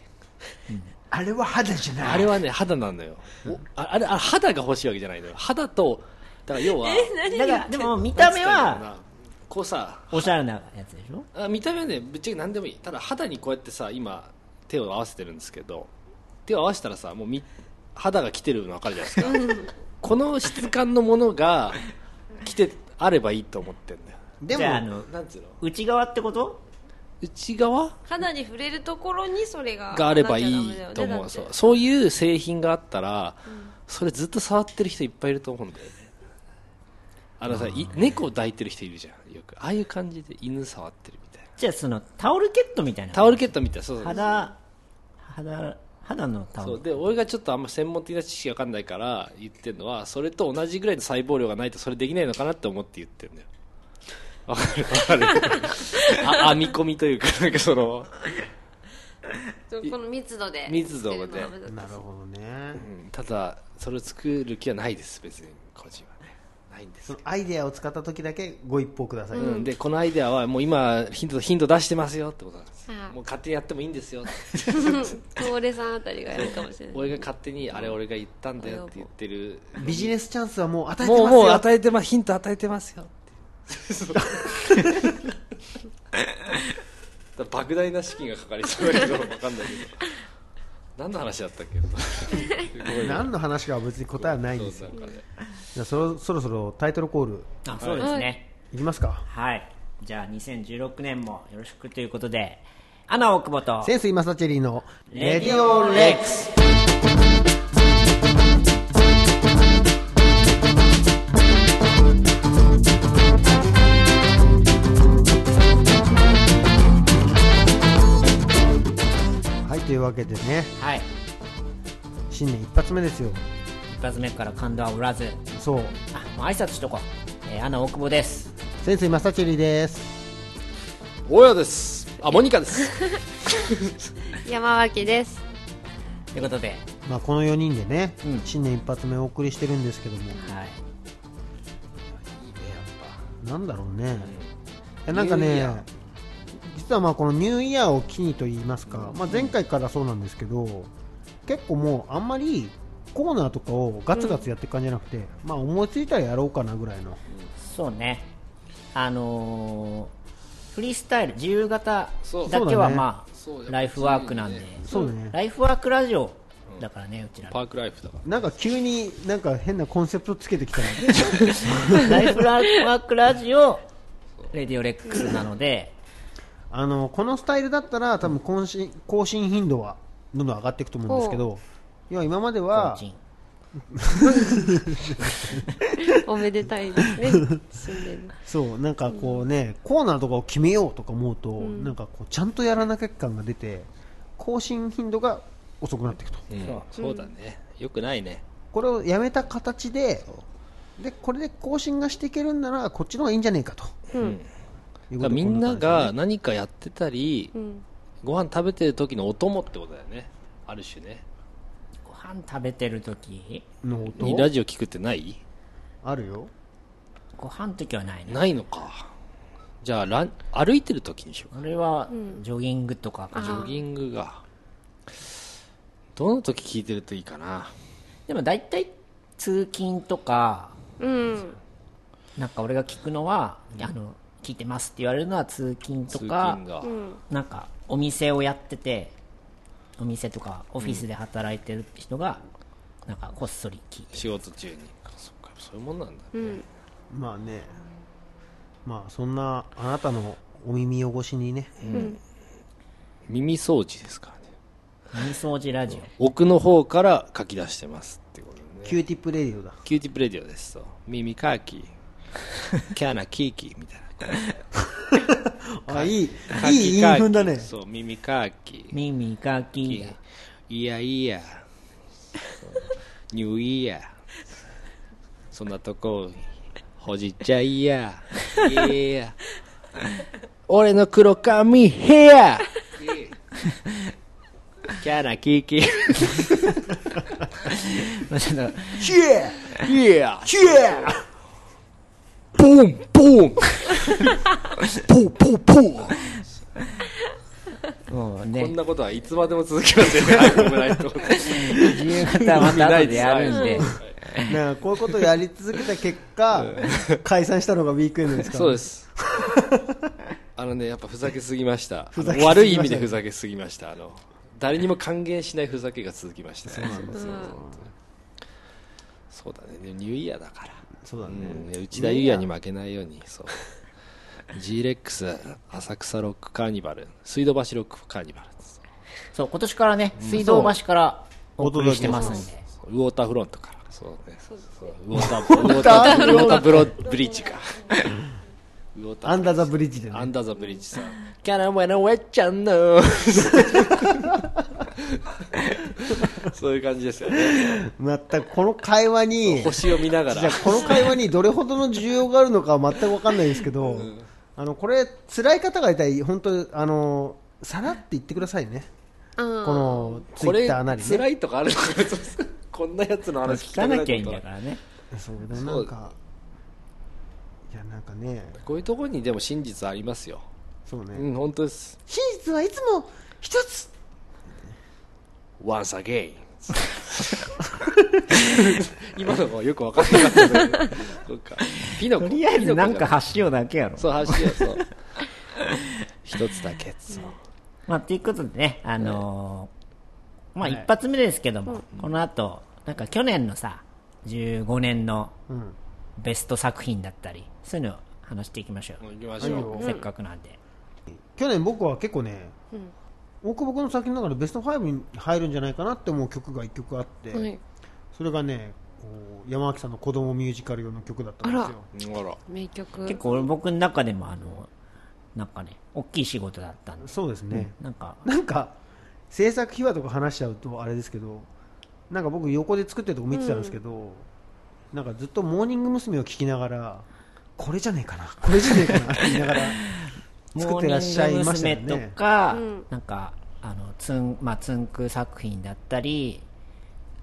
D: あれは肌じゃない
B: あれはね肌なんだよおああれあ肌が欲しいわけじゃないのよ肌とだから要は
A: ょだからでも見た目
B: なんつったらいいのか
A: は
B: なこうさ
A: おしゃれなやつでしょ
B: あ見た目はねぶっちゃけ何でもいいただ肌にこうやってさ今手を合わせてるんですけど手を合わせたらさもうみ肌が来てるの分かるじゃないですかこの質感のものが来てあればいいと思ってんだよ
D: で
A: じゃああ
D: も
A: の
B: なんつうの
A: 内側ってこと
B: 内側
C: 肌に触れるところにそれが
B: があればいいと思う、そうそういう製品があったら、それずっと触ってる人いっぱいいると思うんだよねあのさ、い猫抱いてる人いるじゃんよくああいう感じで犬触ってるみたいな
A: じゃあそのタオルケットみたいな
B: タオルケットみたいなそうそうそう
A: 肌肌肌のタ
B: そ
A: オ
B: う
A: ル
B: で俺がちょっとあんま専門的な知識わかんないから言ってるのはそれと同じぐらいの細胞量がないとそれできないのかなって思って言ってるんだよわかるわかる あ編み込みというかなんかその、
C: そうこの密度で
B: 密度で
D: なるほどね
B: うんただそれを作る気はないです別に個人はねないんです
D: そのアイデアを使った時だけご一報ください、
B: うん、でこのアイデアはもう今頻度頻度出してますよってことなんです、
C: ああ
B: もう勝手にやってもいいんですよ
C: 東レさんあたりがやるかもしれない
B: 俺が勝手にあれ俺が言ったんだよって言ってる
D: ビジネスチャンスはもう与えてます
B: も
D: よ
B: うもう与えてますヒント与えてます よっていうだから莫大な資金がかかりそうだけど分かんないけど何の話だったっけ
D: 何の話かは別に答えはないんですよ
B: そうなんかね
D: じゃあそろそろそろタイトルコール
A: あそうですね
D: いきますか
A: はい、じゃあ2016年もよろしくということでアナ大久保と
D: センス今サチェリーの
A: レ
D: レ
A: デ
D: デ
A: ィ
D: ィ
A: オ
D: オ
A: レ
D: レ
A: ッ
D: ッ
A: ク
D: ク
A: ス
D: スはいというわけでね
A: はい
D: 新年一発目ですよ
A: 一発目から感動はおらず
D: そう
A: あもう挨拶しとこう、えーアナ大久保です
D: センス今サチェリーです
B: 大家ですあモニカです
C: 山脇です
A: ということで、
D: まあこの4人でね、
A: うん
D: 新年一発目お送りしてるんですけども
A: はい、
D: なんだろうね、いやなんか
B: ニューイ
D: ね
B: ヤー
D: 実はまあこのニューイヤーを機にと言いますか、まあ、前回からそうなんですけど結構もうあんまりコーナーとかをガツガツやっていく感じじゃなくて、まあ思いついたらやろうかなぐらいの
A: そうねあのーフリースタイル自由形
B: そう
A: だけは
D: そうだね
A: まあ
B: そう
A: ライフワークなんで、
D: そうね
A: ライフワークラジオだからね、うちら
B: パークライフだか
D: なんか急になんか変なコンセプトつけてきたね
A: ライフワークラジオレディオレックスなので
D: あのこのスタイルだったら多分更新更新頻度はどんどん上がっていくと思うんですけどいや今までは
A: 個人
C: おめでたいですね新年の
D: そうなんかこうね、コーナーとかを決めようとか思うと、なんかこうちゃんとやらなきゃ感が出て更新頻度が遅くなっていくと
B: ら、うん
A: そう
B: そうだねよくないね
D: これをやめた形ででこれで更新がしていけるんならこっちの方がいいんじゃねえかと、いう
B: だ
D: こ
B: か
D: と
B: ら
D: で
B: みんな
D: こ
B: が何かやってたり、
C: うん
B: ご飯食べてる時のお供ってことだよねある種ね
A: ご飯食べてる時
D: の
B: に
D: 音
B: ラジオ聞くってない
D: あるよ
A: ご飯の時はないね
B: ないのかじゃあラン歩いてる時にしようか
A: これはジョギングとかか
B: ジ
A: な
B: ョギングがどの時聞いてるといいかな
A: でも大体通勤とか
C: うん
A: なんか俺が聞くのは、あの聞いてますって言われるのは通勤と
B: 通勤
A: か
B: が、
A: なんかお店をやっててお店とかオフィスで働いてる人が、なんかこっそり聞いて
B: 仕事中にそっかそういうもんなんだ、
D: まあねまあそんなあなたのお耳汚しにね、
B: 耳掃除ですからね
A: 耳掃除ラジオ
B: 奥の方から書き出してますってことね
D: キューティップレディオだ
B: キューティップレディオですと耳かきキャナキーキーみたいな
D: あいい
B: か
D: いい言
B: き
D: い
B: かき
D: 分だね
B: そう耳かき
A: 耳か
B: い
A: き
B: やいやいやニューイヤーそんなとこほじっちゃいやいやいや俺の黒髪ヘアキャラキーキー
A: ちょっと
D: キエ
B: イヤー
D: キエ
B: ボンボンポンポンポン
A: もう
B: こ
A: ね
B: んなことはいつまでも続きますよねアイムライト
A: 自由形はまた後でやるんで
D: なんかこういうことをやり続けた結果解散したのがウィークエンドですから
B: そうです。あのね、やっぱふざけすぎました。
D: ふざけすぎましたね
B: あの悪い意味 でふざけすぎました。あの、誰にも還元しないふざけが続きました。そうそうだね。でもニューイヤーだから。
D: そうだ
B: う
D: ね、
B: ん、内田裕也に負けないように、そう。g レックス浅草ロックカーニバル、水道橋ロックカーニバル、
A: そう今年からね水道橋からお送りしてますんで
B: そうウォーターフロントから。そうね。そうウォーター、ウォーター、ウォーターブロブリッジか。ウォーター
D: アンダーザブリッジでね
B: アンダーザブリッジさん。キャラメラウェッチャンの。 そういう感じですよね。
D: 全くこの会話に
B: 星を見なが
D: じゃ
B: ら
D: あ。この会話にどれほどの需要があるのかは全く分かんないですけど、あのこれ辛い方がいたら本当あのさらって言ってくださいね、
C: うん
D: このツイ
B: これ
D: ッターなりね
B: 辛いとかあるのかなそうそう こんなやつの話聞
A: 聞
B: か
A: か
B: な
A: なき
B: き
A: ゃ
B: ゃ
A: い
B: い
A: いん
B: いん
A: だ
B: だ
A: か
B: から
A: ね
D: そうでもなんかいやなんかね
B: ら。こういうところにでも真実ありますよ。
D: そうね、
B: うん、本当です。
D: 真実はいつも一つ
B: Once again. 今のがよくわかんなかったんだけどそうかピノコ
A: とりあえずなん
B: ピノコじゃ
A: か発祥だけやろ
B: そう話よそう一つだけそう
A: まあ、ということでね、あのーまあ、一発目ですけども、この後、なんか去年のさ、15年の
D: ん
A: ベスト作品だったり、そういうのを話していきましょ
B: も
A: う。
B: う行きましょう
A: せっかくなんで。
D: 去年僕は結構ね、大久保君の作品の中でベスト5に入るんじゃないかなって思う曲が1曲あって、
C: はい
D: それがねこう山脇さんの子供ミュージカル用の曲だったんですよ
B: あら
C: 名曲
A: 結構俺僕の中でも、あの、なんかね、大きい仕事だったんです。
D: そうですね、
A: なんか、
D: なんか制作秘話とか話しちゃうとあれですけどなんか僕横で作ってるとこ見てたんですけど、なんかずっとモーニング娘。を聞きながらこれじゃねえ かなこれじゃねえかなって言いながら作ってらっしゃいましたよ
A: モーニング娘
D: ね
A: とか、
C: うん
A: なんか、あの、つん、まあ、つんく作品だったり、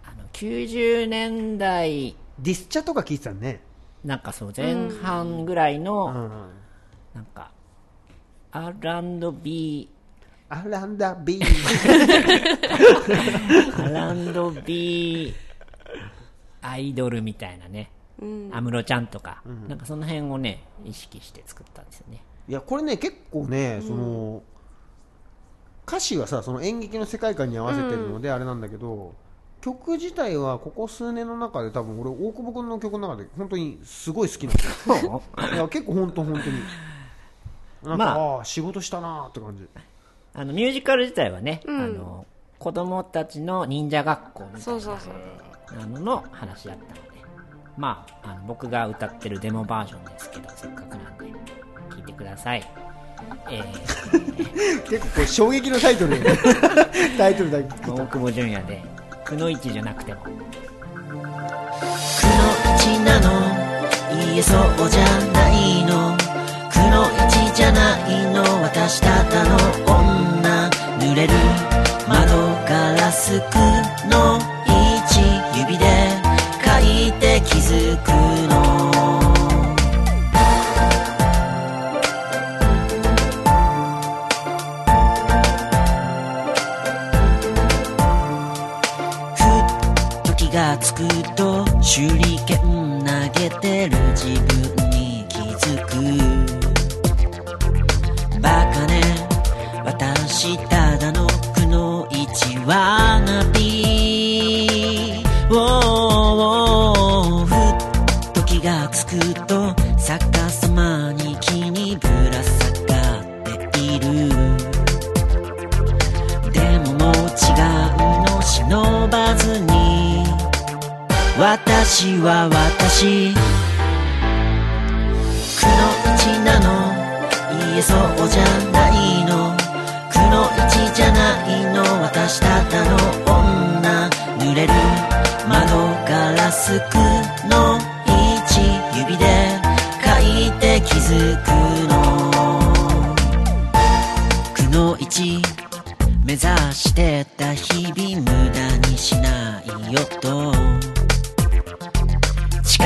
A: あの、90年代、
D: ディスチャとか聞いてたね、
A: なんかそう、前半ぐらいの、
D: うん、
A: なんか、R&B、
D: アランダビー
A: R&B アイドルみたいなね、安室ちゃんとか、なんかその辺をね、意識して作ったんですよね。
D: いやこれね結構ねその、歌詞はさその演劇の世界観に合わせてるのであれなんだけど、曲自体はここ数年の中で多分俺大久保君の曲の中で本当にすごい好きなんですよ いや結構本当本当になんか、
A: まあ
D: ああ仕事したなーって感じ
A: あのミュージカル自体はね、あの子供たちの忍者学校みたいな
C: そうそうそう
A: あのの話だったので、まあ、あの僕が歌ってるデモバージョンですけど、せっかくなんで、聞いてください。えー、
D: 結構これ衝撃のタイトル タイトルだけ聞く
A: 大久保純也で、くのいちじゃなくても。
E: くのいちなの言えそうじゃないのくのいちじゃないの私ただの女濡れる窓ガラスくのいち指で書いて気づくのふっと気がつくと手裏剣投げてる自分に気づくバカね私ただのくの一わなびおーふっと気がつくと逆さまに木にぶら下がっているでももう違うの忍ばずに私は私くのいちなの言えそうじゃないのくのいちじゃないの私ただの女濡れる窓ガラスくのいち指で書いて気づくのくのいち目指してた日々無駄にしないよと誓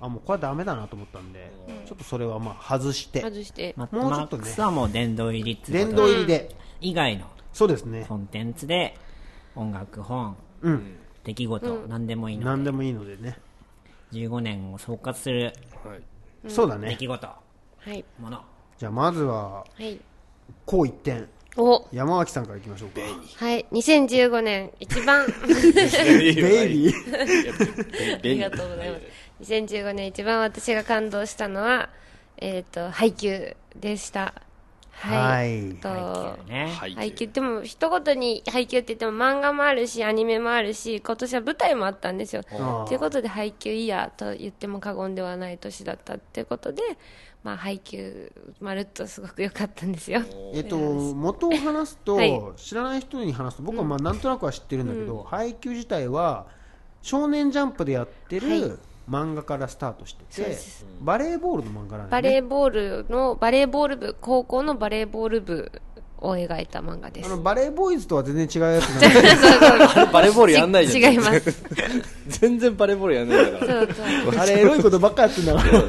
D: あもうこれはダメだなと思ったんで、ちょっとそれはまあ外して
C: 外して
A: マッ
D: も
A: ド
D: う
A: マ
D: ちょっと
A: ッ
D: ね
A: クスはもう殿堂入りっていう
D: 殿
A: こ
D: 堂
A: と
D: 入りで、
A: 以外の
D: そうですね
A: コンテンツで音楽本
D: うん
A: 出来事、何でもいいの
D: 何でもいいのでね、
A: 15年を総括する
B: はい
D: そうだ
A: 出
D: ね
A: 来事
C: はい
A: もの
D: じゃあまずは
C: はい
D: こう一点
C: お
D: 山脇さんからいきましょうか
C: はい2015年一番
D: ベイビー
B: あ
C: ありがとうございます。2015年一番私が感動したのは、えっ、と、配給でした。は
D: は
C: い。
D: い
C: と
A: 配給ね、
B: はい
C: 配給でも一言に配給って言っても漫画もあるしアニメもあるし今年は舞台もあったんですよ。
D: あー
C: ということで配給イヤーと言っても過言ではない年だったっていうことで、まあ、配給まるっとすごく良かったんですよ。
D: えっと元を話すと、
C: はい
D: 知らない人に話すと僕はまあなんとなくは知ってるんだけど、配給自体は少年ジャンプでやってる、
C: はい
D: 漫画からスタートして
C: そうで
D: て
C: す
D: バレーボールの漫画なんだ
C: バ
D: よね
C: レーボールのバレーボール部高校のバレーボール部を描いた漫画です
D: あ。のバレーボーイズとは全然違うやつなんで
B: バレーボールやんないじゃ ん
C: 違います。
B: 全然バレーボールやんないんだから
C: そうそう。
D: あれエロいことばっかやってんだから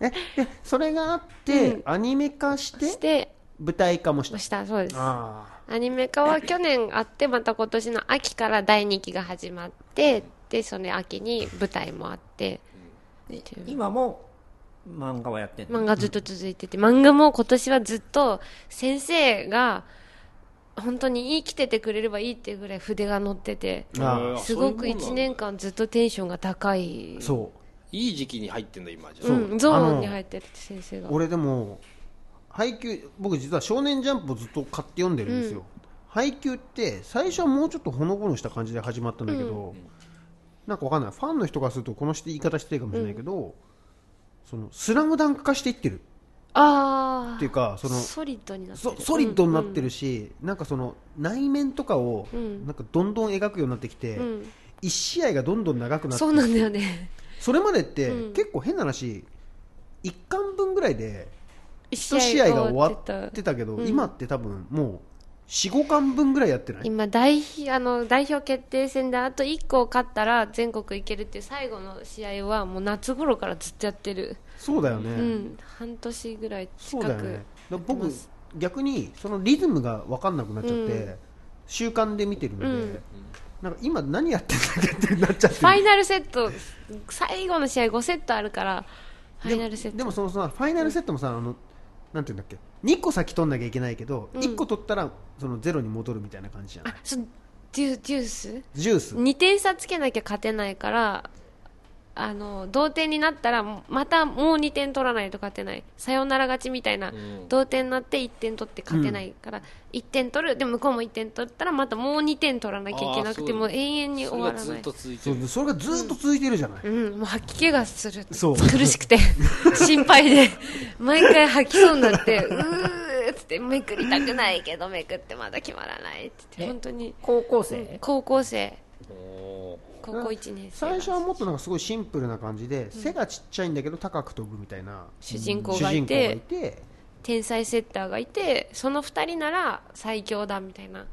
D: えでそれがあって、アニメ化して
C: して
D: 舞台化もした
C: ましたそうです
D: ああ
C: アニメ化は去年あってまた今年の秋から第2期が始まってでその秋に舞台もあってっていう
A: 今も漫画はやってんの
C: 漫画ずっと続いてて漫画も今年はずっと先生が本当に生きててくれればいいっていうぐらい筆が乗ってて
D: あ
C: すごく1年間ずっとテンションが高い
D: そ
B: いい時期に入ってんだ今じゃあ
C: うん、ゾーンに入ってる先生
D: う
C: が
D: 俺でも配給僕実は「少年ジャンプ」をずっと買って読んでるんですよ、配給って最初はもうちょっとほのぼのした感じで始まったんだけど、なんかわかんないファンの人からするとこの人言い方してるかもしれないけど、そのスラムダンク化していってる
C: あ
D: っていうかそ
C: あ
D: の
C: ソリッドになって
D: そ
C: る
D: ソリッドになってるし、なんかその内面とかを
C: ん
D: なんかどんどん描くようになってきて、
C: うん
D: 一試合がどんどん長くなって
C: そうなんだよね
D: それまでって
C: うん
D: 結構変な話一巻分ぐらいで
C: 一
D: 一試合が終わってたけど、
C: うん
D: 今って多分もう45巻分ぐらいやってない
C: 今代表あの代表決定戦であと1個勝ったら全国行けるっていう最後の試合はもう夏頃からずっとやってる、
D: そうだよね、
C: うん、半年ぐらい
D: そう
C: 近
D: だよ
C: く、
D: ねだから
C: やってま
D: 僕
C: す
D: 逆にそのリズムが分かんなくなっちゃって、
C: うん
D: 習慣で見てるので、
C: うん
D: なんか今何やってんだっけってなっちゃって
C: ファイナルセット最後の試合5セットあるからファイナルセット
D: でもでもそのさファイナルセットもさ、あのなんていうんだっけ2個先取んなきゃいけないけど、
C: うん
D: 1個取ったらそのゼロに戻るみたいな感じじゃな
C: あ
D: い
C: そうデュデュース
D: ジュース
C: 2点差つけなきゃ勝てないからあの同点になったらまたもう2点取らないと勝てないサヨナラ勝ちみたいな、
B: ん
C: 同点になって1点取って勝てないから、1点取るでも向こうも1点取ったらまたもう2点取らなきゃいけな
B: あー
C: く
B: そ
C: て
B: う
C: もう永遠に
B: そ
C: 終
B: れ
C: わ
B: が
C: ら
B: ず
C: な
B: っ
C: い
B: と続いて
D: そ
B: る
D: うそれがずっと続いてるじゃない、
C: うん、もう吐き気がする
D: そう
C: 苦しく て心配で毎回吐きそうになってうーっつってめくりたくないけどめくってまだ決まらないっつって
A: え
C: 本当に
A: 高校生
C: 高校生
B: おー
C: 高校1年生
D: 最初はもっとなんかすごいシンプルな感じで、背がちっちゃいんだけど高く飛ぶみたいな
C: 主人公
D: 主
C: がい
D: 人公が
C: て
D: いて
C: 天才セッターがいてその2人なら最強だみたいな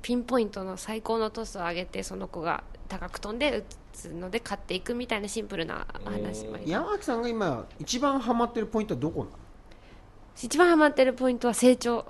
C: ピンポイントの最高のトスを上げてその子が高く飛んで打つので勝っていくみたいなシンプルな話もありま
D: 山脇さんが今一番ハマってるポイントはどこなの
C: す一番ハマってるポイントは成長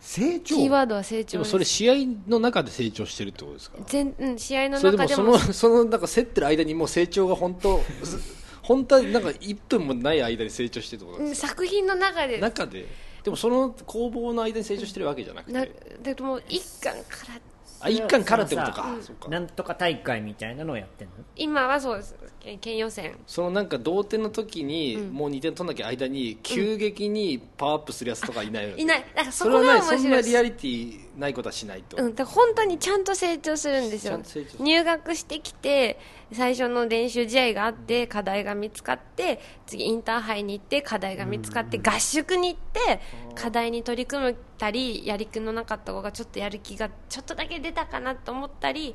D: 成長
C: キーワードは成
B: で
C: 長
B: も
C: です
B: それ試合の中で成長してるってことですか
C: 全、うん、試合の
B: それで
C: 中
B: も
C: で
B: そ
C: も
B: の そのなんか競ってる間にもう成長が本当 す本当はなんか1分もない間に成長してるってことなん
C: うん
B: です
C: 作品の中で
B: か中ででもその攻防の間に成長してるわけじゃなくて
C: なでも一巻から
B: あ一貫からってことか
A: そのさ
B: そうか
A: なんとか大会みたいなのをやってんの
C: 今はそうですけ県予選
B: そのなんか同点の時に、もう2点取んなきゃ間に急激にパワーアップするやつとかいないよね
C: いないだからそ
B: そ
C: こ
B: れはな
C: が
B: いそ
C: 面
B: んな
C: 白
B: リア
C: い
B: リティないことはしないと、
C: うん、だから本当にちゃんと成長するんです
B: ちゃ
C: よ
B: んと成長する
C: 入学してきて最初の練習試合があって課題が見つかって次インターハイに行って課題が見つかって合宿に行って課題に取り組めたりやりくのなかった子がちょっとやる気がちょっとだけ出たかなと思ったり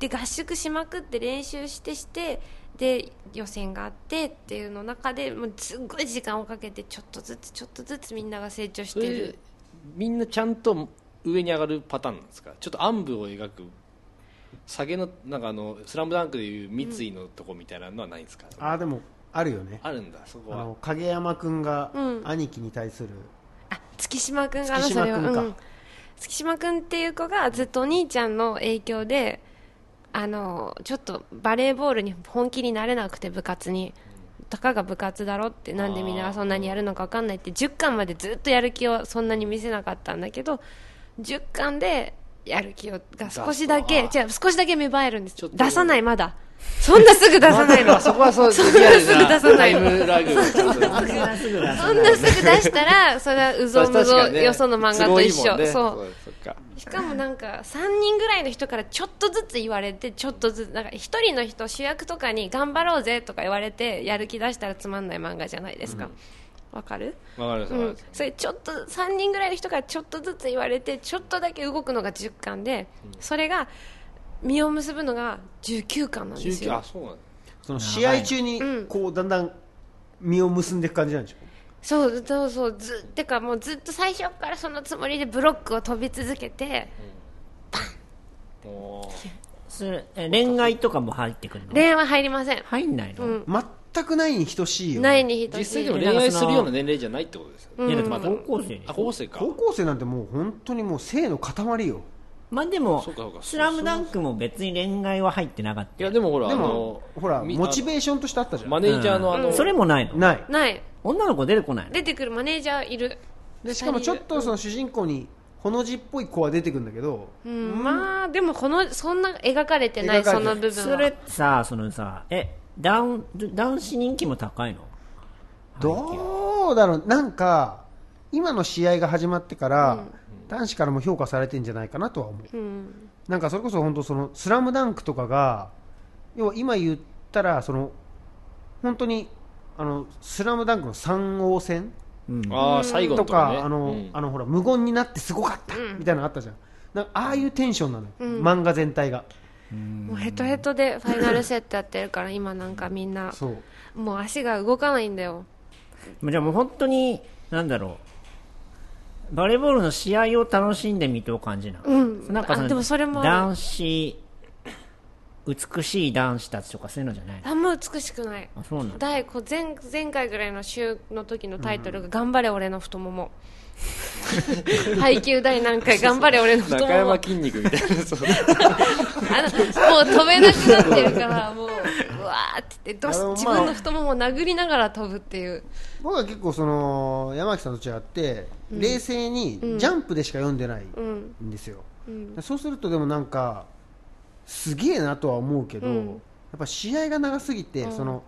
C: で合宿しまくって練習してしてで予選があってっていうの中でもうすっごい時間をかけてちょっとずつちょっとずつみんなが成長し
B: そ
C: て
B: れ
C: る
B: でみんなちゃんと上に上がるパターンなんですかちょっと暗部を描く下げのなんかあのスラムダンクでいう三井のとこみたいなのはないんですか、
D: ああでもあるよね
B: あるんだそこ
D: あ
B: は
D: の影山君が
C: うん
D: 兄貴に対する、
C: あ月島君がな
D: 月島
C: それは
D: 君か
C: うん、月島君っていう子がずっとお兄ちゃんの影響であのちょっとバレーボールに本気になれなくて部活に。たかが部活だろってなんでみんなそんなにやるのか分かんないって10巻までずっとやる気をそんなに見せなかったんだけど10巻でやる気をが少しだけ
B: 出す
C: 違う少しだけ芽生えるんです
B: ちょっと
C: 出さないまだそんなすぐ出さないの
B: そこはそう
C: そん
B: リ
C: な
B: ア
C: す
B: ル
C: ぐ
B: な
C: 出さな
B: タ
C: い
B: イ
C: の
B: ムラグがちゃんと
A: そんなすぐ出
C: そんなすぐ出したら、それはうぞうむ
B: 確
C: ぞ
B: かにね
C: よその漫画
B: 都
C: と
B: 合い
C: 一
B: いも
C: 緒。
B: んね
C: そ
B: そっか
C: う。しかもなんか、3人ぐらいの人からちょっとずつ言われて、ちょっとずつ、なんか1人の人、主役とかに頑張ろうぜとか言われて、やる気出したらつまんない漫画じゃないですか。わ、かる
B: わかりました
C: う
B: わ
C: ん
B: かりまし、
C: それちょっと3人ぐらいの人からちょっとずつ言われてちょっとだけ動くのが10巻で、それが実を結ぶのが19巻なん
B: た
C: です
B: 19あ
C: よ
B: そうなんだ
D: その試合中に
C: うん
D: こうだんだん実を結んでいく感じなんでしょ
C: そうそうそうずてかもうずっと最初からそのつもりでブロックを飛び続けて
B: おー
A: それえ恋愛とかも入ってくるの
C: 恋愛は入りません、
A: 入んないの、
C: うん、
D: 全くないに等しいよね
C: ないに等しい
B: 実際でも恋愛するような年齢じゃないってことですよ
A: いや
B: ね
A: だって高校生でし
B: あ
A: ょ
B: 高校生か
D: 高校生なんてもう本当にもう性の塊よ
A: まあでも
B: そうかそうか
A: 「スラムダンクも別に恋愛は入ってなかった
B: いやでもほら
D: で
B: あ
D: も
B: の
D: ほら
B: み
D: モチベ
B: あ
D: ーションとしてあったじゃん
B: のマネージャーのあの、
A: それもないの
D: ない
C: ない
A: 女の子出てこないの
C: 出てくるマネージャーいる
D: でしかもちょっとその主人公にほの字っぽい子は出てくるんだけど、
C: うんまあでもこのそんな描かれてない
D: 描かれ
C: そ
D: てな
C: の
D: い
C: 部分
A: そ
C: は
A: れさそのさえ男男子人気も高いの
D: どうだろうなんか今の試合が始まってから、男子からも評価されてんじゃないかなとは思う
C: うん
D: なんかそれこそ本当そのスラムダンクとかが要は今言ったらその本当にあのスラムダンクの三王戦
B: ああ最後
D: と
B: のとか
D: か、
B: ね
D: あの、
B: うん
D: あのほら無言になってすごかったみたいなのあったじゃん。なんかああいうテンションなのよ、漫画全体が。
C: もうヘトヘトでファイナルセットやってるから今なんかみんな
D: そう。
C: もう足が動かないんだよ
A: じゃあもう本当になんだろうバレーボールの試合を楽しんでみとう感じなの、
C: うん
A: なんか
C: あでもそれもある
A: 男子美しい男子たちとかそういうのじゃないの
C: あんま美しくない
A: あそうなんだ
C: 第こう前前回ぐらいの週の時のタイトルが「頑張れ俺の太もも」配給第何回「頑張れ俺の太も
B: 中
C: も」
B: 山筋肉みたいなそう
C: あのもう飛べなくなってるからもううわーって言ってどし
D: あのまあ
C: 自分の太ももを殴りながら飛ぶっていう
D: 僕は結構その山木さんと違って、冷静にジャンプでしか読んでない
C: うん
D: んですよ。
C: うん
D: そうするとでもなんかすげえなとは思うけど、
C: うん
D: やっぱ試合が長すぎて、その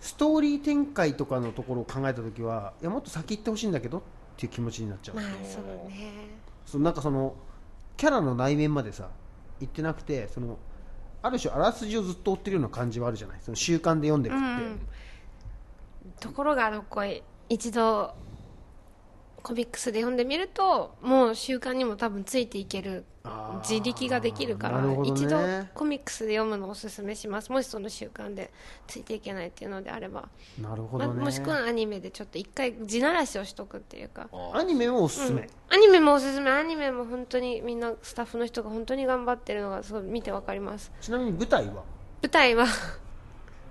D: ストーリー展開とかのところを考えた時はいやもっと先行ってほしいんだけどっていう気持ちになっちゃう
C: まあ。そうね
D: そのなんかそのキャラの内面までさ言ってなくてそのある種あらすじをずっと追ってるような感じはあるじゃないその習慣で読んでるって、
C: ところがあの子一度コミックスで読んでみるともう習慣にも多分ついていける
D: あー
C: 自力ができるから
D: なるほどね
C: 一度コミックスで読むのをおすすめしますもしその習慣でついていけないっていうのであれば、
D: なるほ
C: ま
D: どね、
C: もしくはアニメでちょっと一回地ならしをしとくっていうか
D: アニメもおすすめ、
C: アニメもおすすめアニメも本当にみんなスタッフの人が本当に頑張ってるのがすごい見てわかります
D: ちなみに舞台は、
C: 舞台は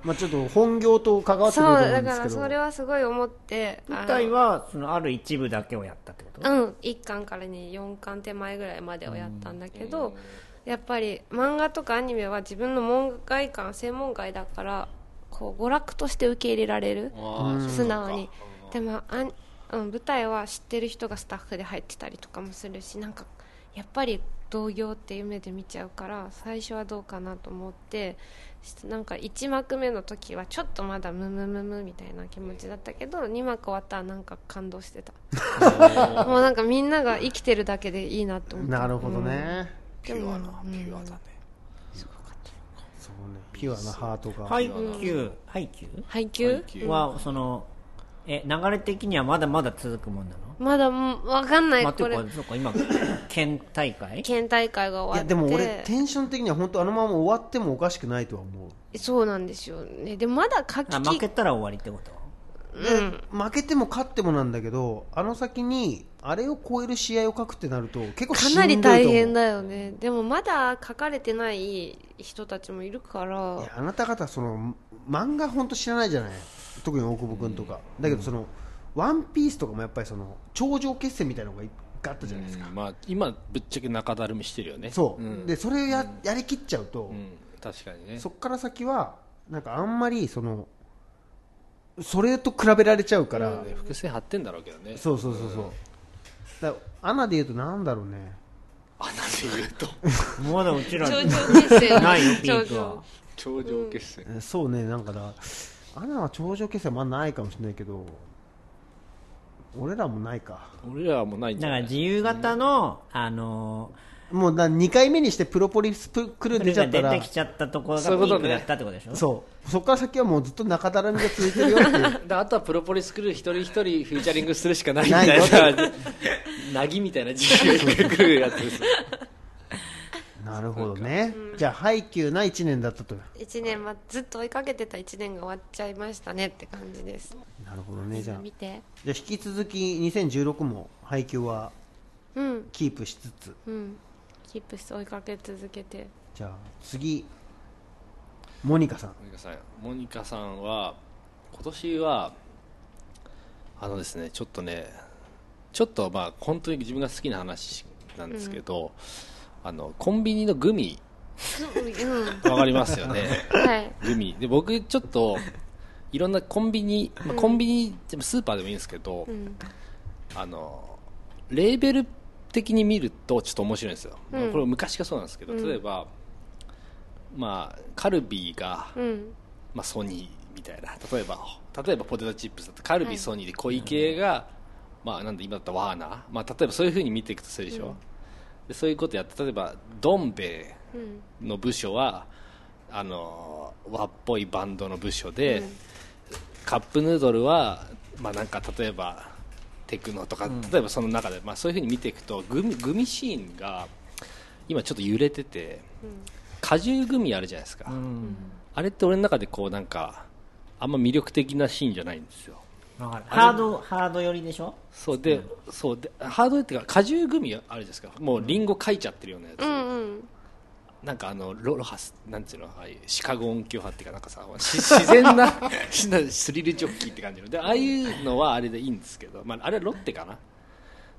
D: まあ、ちょっと本業と関わって
C: そ
D: く
C: う
D: ると思う
C: だ
D: んで
C: か
D: すけ
C: ら
D: ど
C: それはすごい思ってあの
A: 舞台はそのある一部だけをやったってこと、
C: うん1巻からね4巻手前ぐらいまでをやったんだけど、やっぱり漫画とかアニメは自分の門外観専門外だからこう娯楽として受け入れられる
B: あー
C: 素直にでもあん、うん、舞台は知ってる人がスタッフで入ってたりとかもするしなんかやっぱり同業って夢で見ちゃうから最初はどうかなと思ってなんか1幕目の時はちょっとまだムムムムみたいな気持ちだったけど2幕終わったらなんか感動してた もうなんかみんなが生きてるだけでいいなと思って
D: なるほどね、
B: ピュアな、
C: うん
B: ピュアだね。
D: そうねピュアなハートが、
A: 配給配給
C: 配給
B: 配給
A: はそのえ流れ的にはまだまだ続くもんなの
C: まだうんわかんない、
A: まあ、て
C: こ
A: い
C: れ
A: うかそうか今県大会
C: 県大会が
D: い
C: 終わ
D: や
C: って
D: でも俺テンション的には本当あのまま終わってもおかしくないとは思う
C: そうなんですよねでまだ書き
A: あ負けたら終わりってこと
D: で負けても勝ってもなんだけどあの先にあれを超える試合を書くってなると結構し
C: か
D: んど
C: ない
D: と思
C: り
D: う
C: 大変だよねでもまだ書かれてない人たちもいるから
D: いやあなた方その漫画本当知らないじゃない特に大久保君とか、だけどその「ワンピースとかもやっぱりその頂上決戦みたいなのがいっぱいあったじゃないですか、
B: まあ、今、ぶっちゃけ中だるみしてるよね。
D: そう、
B: ん
D: でそれをや,、やりきっちゃうと、
B: うん確かにね。
D: そっから先はなんかあんまりそのそれと比べられちゃうから、
B: ね伏線張ってんだろうけどね。
D: そうそうそうそう、だからアナで言うとなんだろうね
B: あ、なんで言うと。
A: まだうちら
C: 頂上決戦
A: ないよピ
C: 頂
A: ーク
C: 上
A: は
B: 頂上決戦。
D: えそうねなんかだアナは頂上決戦まあないかもしれないけど俺らもないか
B: 俺らはもうないんじ
A: だ
B: ゃ
A: から
B: ない
A: 自由形の、あの
D: もうだ2回目にしてプロポリスプクルー
A: ー、
D: 出ちゃった
A: 出
D: ら
A: てきちゃったところがピ
B: そういうこと
A: ー
B: ね
A: クだったってことでしょ
D: そうそこから先はもうずっと中だらみが続いてるよっていう
B: であとはプロポリスクルー一人一人フューチャリングするしかないみ
D: な
B: た
D: い
B: い
D: よ
B: な、 なぎみたいな自由が来るやつです。
D: なるほどね、じゃあ配給な1年だったと
C: 1年はずっと追いかけてた1年が終わっちゃいましたねって感じです
D: なるほどねじゃあ
C: 見
D: じゃ
C: て
D: あ引き続き2016も配給は
C: うん
D: キープしつつ
C: うんキープして追いかけ続けて
D: じゃあ次モニカさん
B: モニカさんモニカさんは今年はあのですねちょっとねちょっとまあ本当に自分が好きな話なんですけど、あのコンビニのグミ
C: うん
B: わかります よね
C: はい
B: グミで僕ちょっといろんなコンビニ、まあ、コンビニでもスーパーでもいいんですけど、
C: うん
B: あのレーベル的に見るとちょっと面白いんですよ、
C: うん
B: これ昔がそうなんですけど例えば、まあカルビーが
C: うん
B: まあ、ソニーみたいな例えば例えばポテトチップスだとカルビ、ソニーで小池が、まあ、なんで今だったらワーナー、まあ、例えばそういうふうに見ていくとするでしょ、でそういうことやって例えばどん兵衛
C: うん
B: の部署はあの和っぽいバンドの部署で、カップヌードルは、まあ、なんか例えばテクノとか、例えばその中で、まあ、そういうふうに見ていくとグミグミシーンが今ちょっと揺れてて、果汁グミあるじゃないですか、あれって俺の中でこうなんかあんま魅力的なシーンじゃないんですよ
A: わかるハードハード寄りでしょ
B: そうで,、そうでハードウェイっていうか果汁グミあるじゃないですかもうリンゴ書いちゃってるようなやつ、
C: うんうん
B: なんかあのロロハスなんていうのああいうシカゴ音響派っていうかなんかさし自然なしなスリルジョッキーって感じのでああいうのはあれでいいんですけど、まあ、あれはロッテかな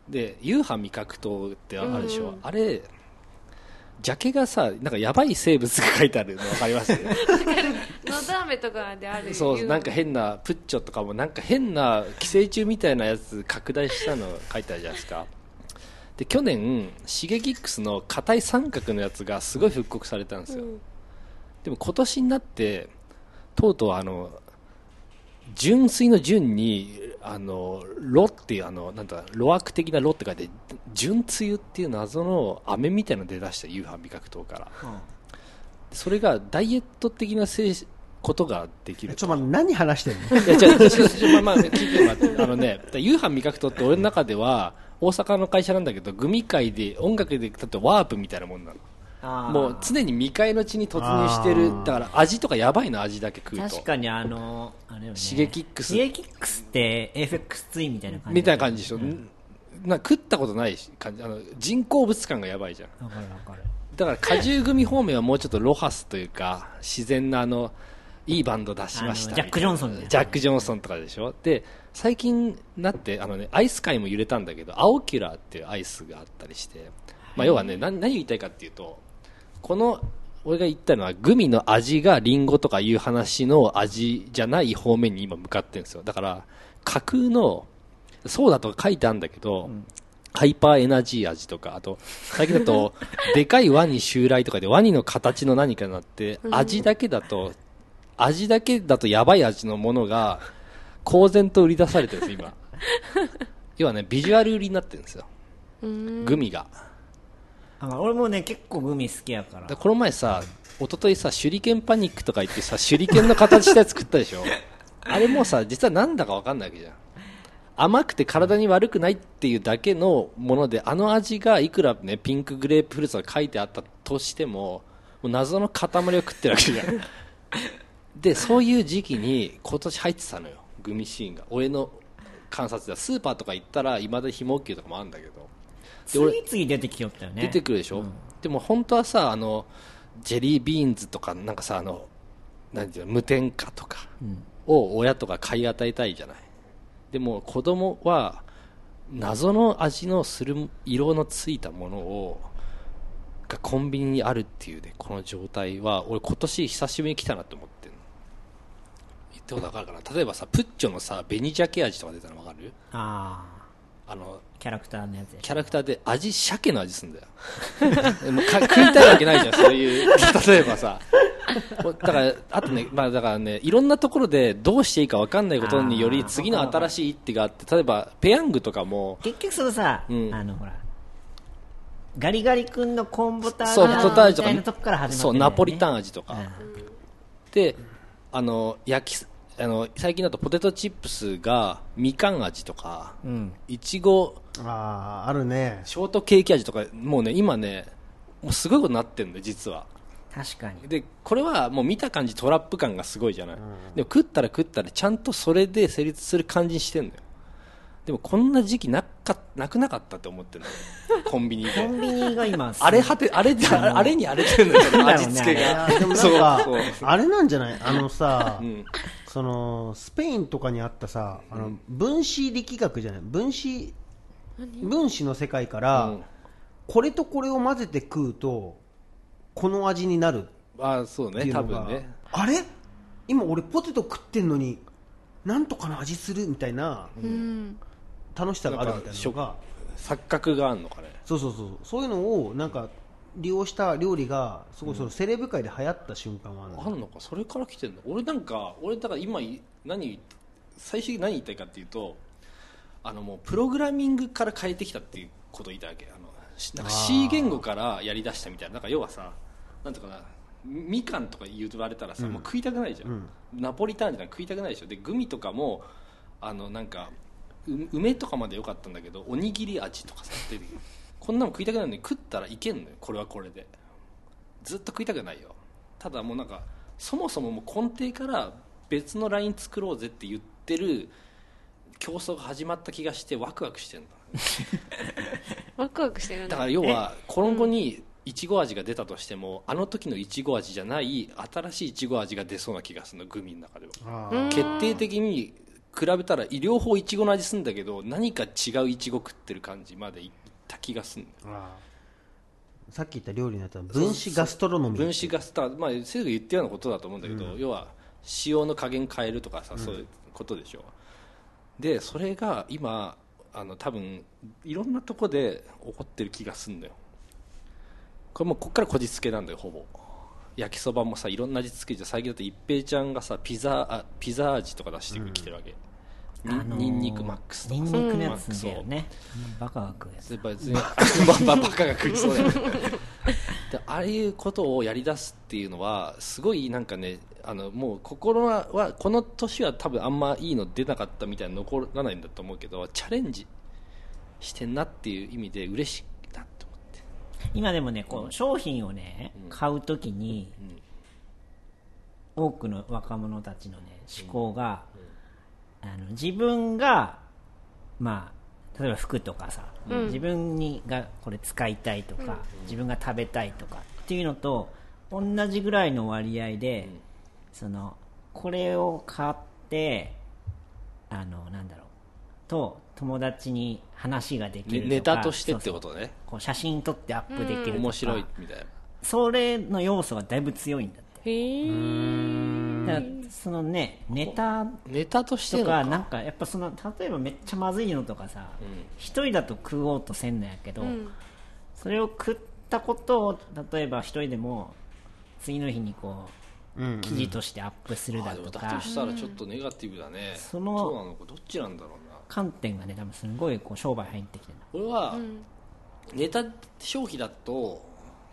B: で夕飯味覚糖ってあるでしょ、あれジャケがさなんかやばい生物が書いてあるの分かります
C: のど飴とかである
B: そうなんか変なプッチョとかもなんか変な寄生虫みたいなやつ拡大したの書いてあるじゃないですかで去年 Shigekix の硬い三角のやつがすごい復刻されたんですよ、
C: うん
B: でも今年になってとうとうあの純粋の純にあのロっていうあのなんだロアク的なロって書いて純露っていう謎の飴みたいなの出だした夕飯味覚糖から、それがダイエット的なせいことができる
D: ちょっと待って何話してん の
B: いや、違う、違う、違う違う、まあ、まあ、聞いてもらって、あのね、夕飯味覚糖って俺の中では、大阪の会社なんだけど、グミ界で、音楽で、だってワープみたいなもんな
A: あ
B: の。
A: ー
B: もう常に未開の地に突入してる
D: あー。
B: だから味とかやばいの、味だけ食うと。
A: 確かにあのあれよね
B: シゲキックス
A: シゲキックスって FX2 みたいな感じ
B: みたいな感じでしょ。な食ったことないし感じあの人工物感がやばいじゃん
A: わかるわかる
B: だから果汁組方面はもうちょっとロハスというか自然なあのいいバンド出しました
A: あのジャックジョンソンみたいな
B: ジャック・ジョンソンとかでしょで最近なってあの、ね、アイス界も揺れたんだけど青キュラーっていうアイスがあったりして、まあ、要はね何何を言いたいかっていうとこの俺が言ったのはグミの味がリンゴとかいう話の味じゃない方面に今向かってるんですよだから架空のそうだとか書いてあるんだけど、ハイパーエナジー味とか、あと、最近だと、でかいワニ襲来とかで、ワニの形の何かになって、味だけだと、味だけだとやばい味のものが、公然と売り出されてるんです、今。要はね、ビジュアル売りになってるんですよ。グミが。
A: あ俺もね結構グミ好きやから
B: だからこの前さ一昨日さ手裏剣パニックとか言ってさ手裏剣の形したやつ食ったで しょあれもさ実はなんだか分かんないわけじゃん甘くて体に悪くないっていうだけのものであの味がいくらねピンクグレープフルーツが書いてあったとしてももう謎の塊を食ってるわけ じゃんでそういう時期に今年入ってたのよグミシーンが俺の観察ではスーパーとか行ったらいまだに非毛球とかもあるんだけどで俺
A: 次々出てきよったよね
B: 出てくるでしょ、でも本当はさあのジェリービーンズとかなんかさあの何ていうの無添加とかを親とか買い与えたいじゃないでも子供は謎の味のする色のついたものをがコンビニにあるっていうねこの状態は俺今年久しぶりに来たなと思ってんの言ったことわかるかな例えばさプッチョのさ紅鮭味とか出たのわかる
A: あ
B: あの
A: あキャラクターのやつで
B: キャラクターで味、鮭の味すんだよ。 でもか食いたいわけないじゃん、そういう。例えばさ。だから、あとね、まあだからね、いろんなところでどうしていいか分かんないことによ
A: あ
B: り、
A: ー
B: 次の新しい一手があって、例えば、ペヤングとかも、
A: 結局そのさ、
B: うん
A: あのほらガリガリ君のコーンボター
B: そう、ポタージ
A: みたいな
B: ュ
A: と
B: と
A: こから
B: か、
A: 始ま
B: そ
A: っ
B: う、
A: てるんだよね
B: ナポリタン味とか。
A: うん
B: で、あの、焼きす、あの、最近だとポテトチップスが、みかん味とか、
A: ん
B: いちご、
D: あああるね
B: ショートケーキ味とか、もうね、今ね、もうすごいことになってるんだよ、実は。
A: 確かに
B: でこれはもう見た感じトラップ感がすごいじゃない、でも食ったら食ったらちゃんとそれで成立する感じにしてんだよでもこんな時期なかなくなかったって 思ってるのよコンビニで
A: コンビニが今
B: あれ果てあれってあれあれに荒れてるんだよ味付け
D: い
B: が
D: やでもなんか
B: そう
D: あれなんじゃないあのさ、
B: ん
D: そのスペインとかにあったさあの分子力学じゃない分子分子の世界から、
B: うん
D: これとこれを混ぜて食うとこの味になる
B: あそう
D: ってい
B: ね
D: う
B: 多
D: のが、
B: 分ね
D: あれ今俺ポテト食ってんのになんとかの味するみたいな
C: うん
D: 楽しさがあるみたいなの
B: なん
D: が
B: か錯覚があるのかね
D: そうそうそうそういうのをなんか利用した料理がすごいそのセレブ界で流行った瞬間はあるの
B: あんのかそれから来てんの俺なんか俺だから今い何言っ最終的に何言いたいかっていうとあのもうプログラミングから変えてきたっていうことを言いたいわけあのしなんか C 言語からやりだしたみたいななんか要はさなんとかなみみかんとか言われたらさ、もう食いたくないじゃん、ナポリタンじゃなく食いたくないでしょでグミとかもあのなんかう梅とかまで良かったんだけどおにぎり味とかさ出てくる こんなの食いたくないのに食ったらいけんのよこれはこれでずっと食いたくないよただもうなんかそもそももう根底から別のライン作ろうぜって言ってる競争が始まった気がしてワクワクしてるんだ
C: ワクワクしてるん
B: だ
C: だ
B: から要は今後にいちご味が出たとしてもあの時のいちご味じゃない新しいいちご味が出そうな気がするのグミの中では
D: あ
C: うん
B: 決定的に比べたら両方いちごの味するんだけど何か違ういちご食ってる感じまでいった気がするんだよ
D: あーさっき言った料理のやつは分子ガストロノミー
B: 分子ガスター、まあ、生徒が言ったようなことだと思うんだけど、要は塩の加減変えるとかさ、そういうことでしょでそれが今あの多分いろんなとこで起こってる気がすんだよこれもうこっからこじつけなんだよほぼ焼きそばもさいろんな味付けじゃん最近だと一平ちゃんがさピザあピザ味とか出してきてるわけ、にニンニクマックスと
A: ニ
B: か
A: ンニ
B: さ
A: クの
B: マ
A: や
B: ッ
A: つ
B: クス
A: だ
B: を
A: よねうんバカが食うやつ
B: やっぱり全バババカが食いそうだよねでああいうことをやりだすっていうのはすごいなんかねあのもう心はこの年は多分あんまいいの出なかったみたいな残らないんだと思うけどチャレンジしてんなっていう意味で嬉しいなと思って
A: 今でもねこう商品をね買うときに多くの若者たちのね思考があの自分がまあ例えば服とかさ自分にがこれ使いたいとか自分が食べたいとかっていうのと同じぐらいの割合でそのこれを買ってあのなんだろうと友達に話ができる
B: ね
A: とか
B: ネタとしてってことね
A: こう写真撮ってアップできるとか、
B: 面白いみたいな
A: それの要素がだいぶ強いんだって
C: へえ
A: だからそのねネタ
B: ネタとして
A: と
B: のか
A: かなんかやっぱその例えばめっちゃまずいのとかさ一、人だと食おうとせんのやけど、それを食ったことを例えば一人でも次の日にこう、
D: うんうん
A: 記事としてアップする
B: あ
A: だ
B: でも
A: と
B: だ
A: か
B: としたらちょっとネガティブだね、
A: その
B: そうなのかどっちなんだろうな
A: 観点がね多分すごいこう商売入ってきてる
B: これはネタ消費だと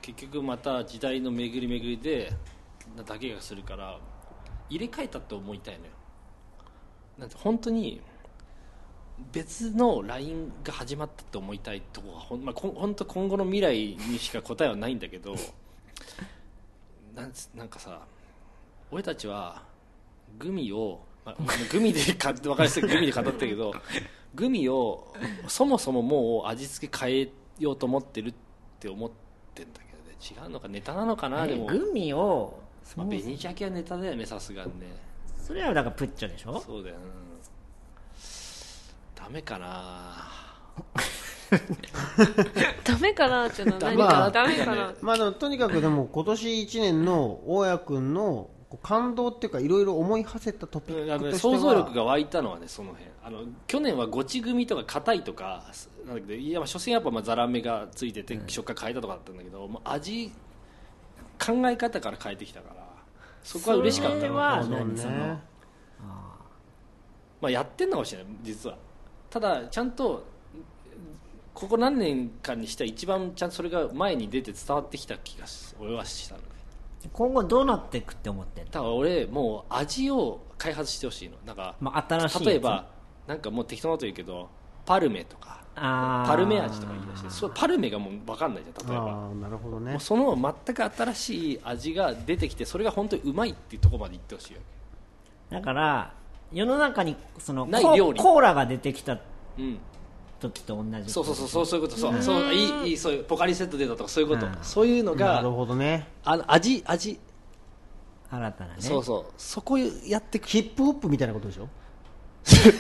B: 結局また時代の巡り巡りでだけがするから入れ替えたって思いたいのよなんて本当に別の LINE が始まったって思いたいとこはほん、まあ、こん本当今後の未来にしか答えはないんだけど なんつなんかさ俺たちはグミを、まあ、グミでか分かりやすいグミで語ったけどグミをそもそももう味付け変えようと思ってるって思ってんだけどね違うのかネタなのかなでも、
A: グミをそ
B: まあ、
A: の
B: 紅鮭はネタだよねさすがにね
A: それはだからプッチョでしょ
B: そうだよ、うん、ダメかな
C: ダメかなっていうのは何
D: ま
C: か
D: あ
C: ダメかな
D: まあでもとにかくでも今年1年の大家君のこう感動っていうかいろいろ思い馳せたトピ
B: うん
D: ッ
B: あ
D: ク
B: の
D: と
B: ね
D: しては
B: 想像力が湧いたのはねその辺あの去年はゴチ組とか硬いとかすなんだけどいやまあ所詮やっぱまあザラメがついてて食感変えたとかだったんだけど、もう味考え方から変えてきたからそこは嬉しかっ
A: そ
B: た
A: れ
B: の
A: は
D: そう
A: 何その
D: ね
B: まあ、やってんのかもしれない実はただちゃんとここ何年間にしては一番ちゃんとそれが前に出て伝わってきた気がし俺はしたのね
A: 今後どうなっていくって思ってんの
B: だから俺もう味を開発してほしいのなんか、
A: まあ、新しいやつ
B: 例えばなんかもう適当なこと言うけどパルメとか
A: あー
B: パルメ味とか言い出してそうパルメがもう分かんないじゃん例えば
D: ああなるほど
B: も
D: ね
B: うその全く新しい味が出てきてそれが本当にうまいっていうところまでいってほしいわ
A: だから世の中にその
B: ない
A: コ
B: 料理
A: コーラが出てきた
B: けうん
A: 時と同じ
B: そうそうそうそうそういうことそうそういいいいそういうポカリセット出たとかそういうこと
A: うん
B: そういうの
D: なる
B: が
D: ほどね
B: あの味味
A: 新たなね
B: そうそうそこやっ てく
D: ヒップホップみたいなことでしょ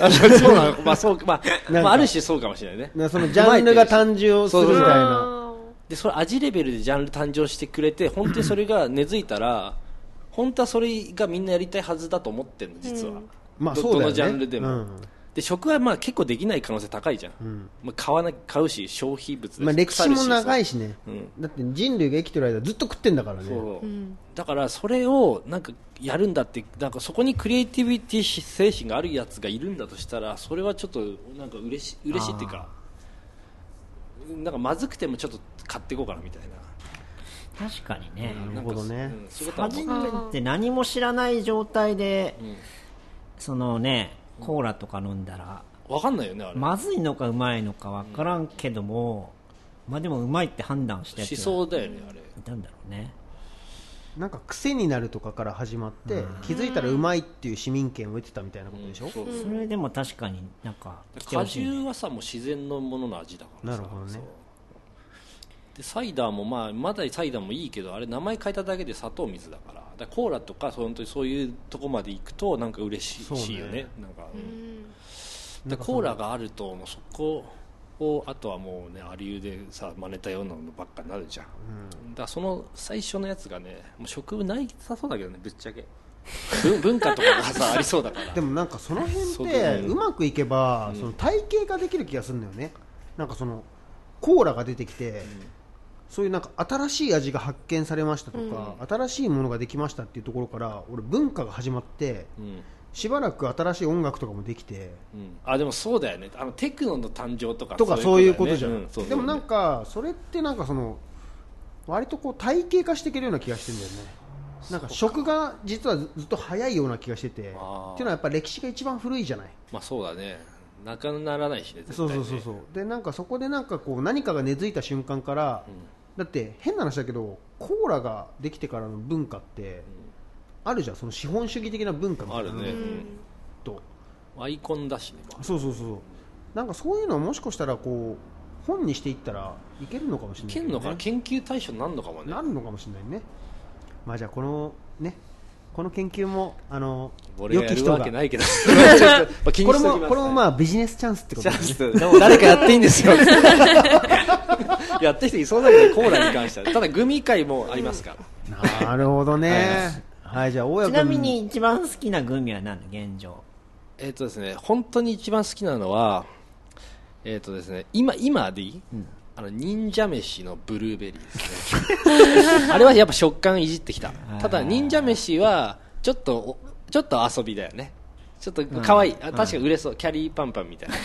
B: あのそうなのまあそうまあ
D: なんか
B: まあある種そうかもしれないね
D: なそのジャンルが誕生するみたいな
C: あ
B: でそれ味レベルでジャンル誕生してくれて本当にそれが根付いたら本当はそれがみんなやりたいはずだと思ってるの実は、
D: まあ
B: ど
D: そうだよね
B: どのジャンルでも、
D: うん
B: で食はまあ結構できない可能性高いじゃん、
D: ん
B: まあ、買わな買うし消費物だし
D: まあ歴史も長い
B: し
D: しね
B: うん
D: だって人類が生きてる間ずっと食ってんだから
B: さ
D: ね
B: そう、だからそれをなんかやるんだってなんかそこにクリエイティビティ精神があるやつがいるんだとしたらそれはちょっとなんか嬉し嬉しいっていうかなんかまずくてもちょっと買っていこうかなみたいな
A: 確かにね
D: なるほどね
B: なんかうんそういうことは思う
A: 初めて何も知らない状態で、そのねコーラとか飲んだら
B: わかんないよねあれ、
A: まずいのかうまいのか分からんけども、まあでもうまいって判断したや
B: し
A: つ
B: そ
A: が
B: うだよねあれ
A: いたんだろうね
D: なんか癖になるとかから始まって気づいたらうまいっていう市民権を得てたみたいなことでしょ
B: そう
A: それでも確かになんか来て
B: 果
A: ほしいね
B: 汁はさもう自然のものの味だからさ
D: なるほどね
B: そうでサイダーも、まあ、まだサイダーもいいけどあれ名前変えただけで砂糖水だからだからコーラとかそう本当にそういうとこまで行くとなんか嬉しい
D: そうね
B: しいよねなんか、うんでコーラがあるともうそこをあとはもうねアリューでさ真似たようなのばっかになるじゃん、だからその最初のやつがねもう食ないさそうだけどねぶっちゃけ文 文化とかがさありそう だから
D: でもなんかその辺
B: そう
D: っ
B: だ
D: て
B: ね
D: うまくいけばその体系化できる気がするんだよねなんかそのコーラが出てきてそういうなんか新しい味が発見されましたとか新しいものができましたっていうところから俺文化が始まって
B: うん
D: しばらく新しい音楽とかもできて
B: うんあでもそうだよねあのテクノの誕生とか
D: とかそういうこと
B: だ
D: じゃ
B: よね
D: ん
B: うそう
D: でもなんかそれってなんかその割とこう体系化していけるような気がしてるんだよねなんか食が実はずずっと早いような気がしててっていうの
B: あー
D: はやっぱ歴史が一番古いじゃない
B: まあそうだねなかならないしね絶
D: そ
B: 対
D: う
B: ね
D: そうそうそうでなんかそこでなんかこう何かが根付いた瞬間から、だって変な話だけどコーラができてからの文化って、あるじゃんその資本主義的な文化みた
B: あ
D: いな
B: る
D: の
B: ね、
D: と
B: アイコンだしね、まあ
D: そうそうそうそうなんかそういうのをもしかしたらこう本にしていったらいけるのかもしれ
B: い
D: ないけ
B: け
D: ど
B: ん
D: ね、
B: のかな研究対象になるのかもね
D: なるのかもしれないねまあじゃあこのねこの研究もあの
B: 俺がやるわけ
D: こ
B: ないけどちょっと まあ気
D: れ
B: にしすぎます
D: もこれもまあビジネスチャンスってこと
B: チ
D: だ
B: ャン
D: ね
B: ス誰かやっていいんですよやってる人いそうだけどコーラに関してはただグミ会もありますから
D: なるほどね。ははい、じゃあ、大家
A: ち
D: 君。
A: なみに一番好きなグミは何だ現状
B: えっ、とですね本当に一番好きなのはえっ、とですね今今でいい、あの忍者飯のブルーベリーですねあれはやっぱ食感いじってきたただ忍者飯はちょっとおちょっと遊びだよねちょっと可愛い、あ確かに売れそう、キャリーパンパンみたいな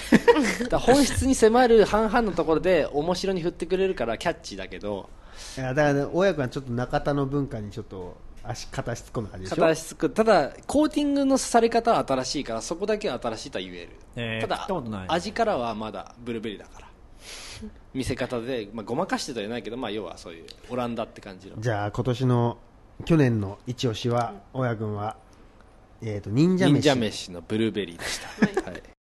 B: だから本質に迫る半々のところで面白に振ってくれるからキャッチーだけど
D: いやだから、ね、親子はちょっと中田の文化にちょっと足片足突っ込んだ感じでしょ
B: 片足つくただコーティングのされ方は新しいからそこだけは新しいとは言える、
A: えー
B: た
A: 聞
B: だ
A: いたことない
B: 味からはまだブルーベリーだから見せ方で、まあ、ごまかしてとは言えないけど、まあ、要はそういうオランダって感じの
D: じゃあ今年の去年の一押しは大家君は、えー、と忍者飯
B: 忍者飯のブルーベリーでした、はい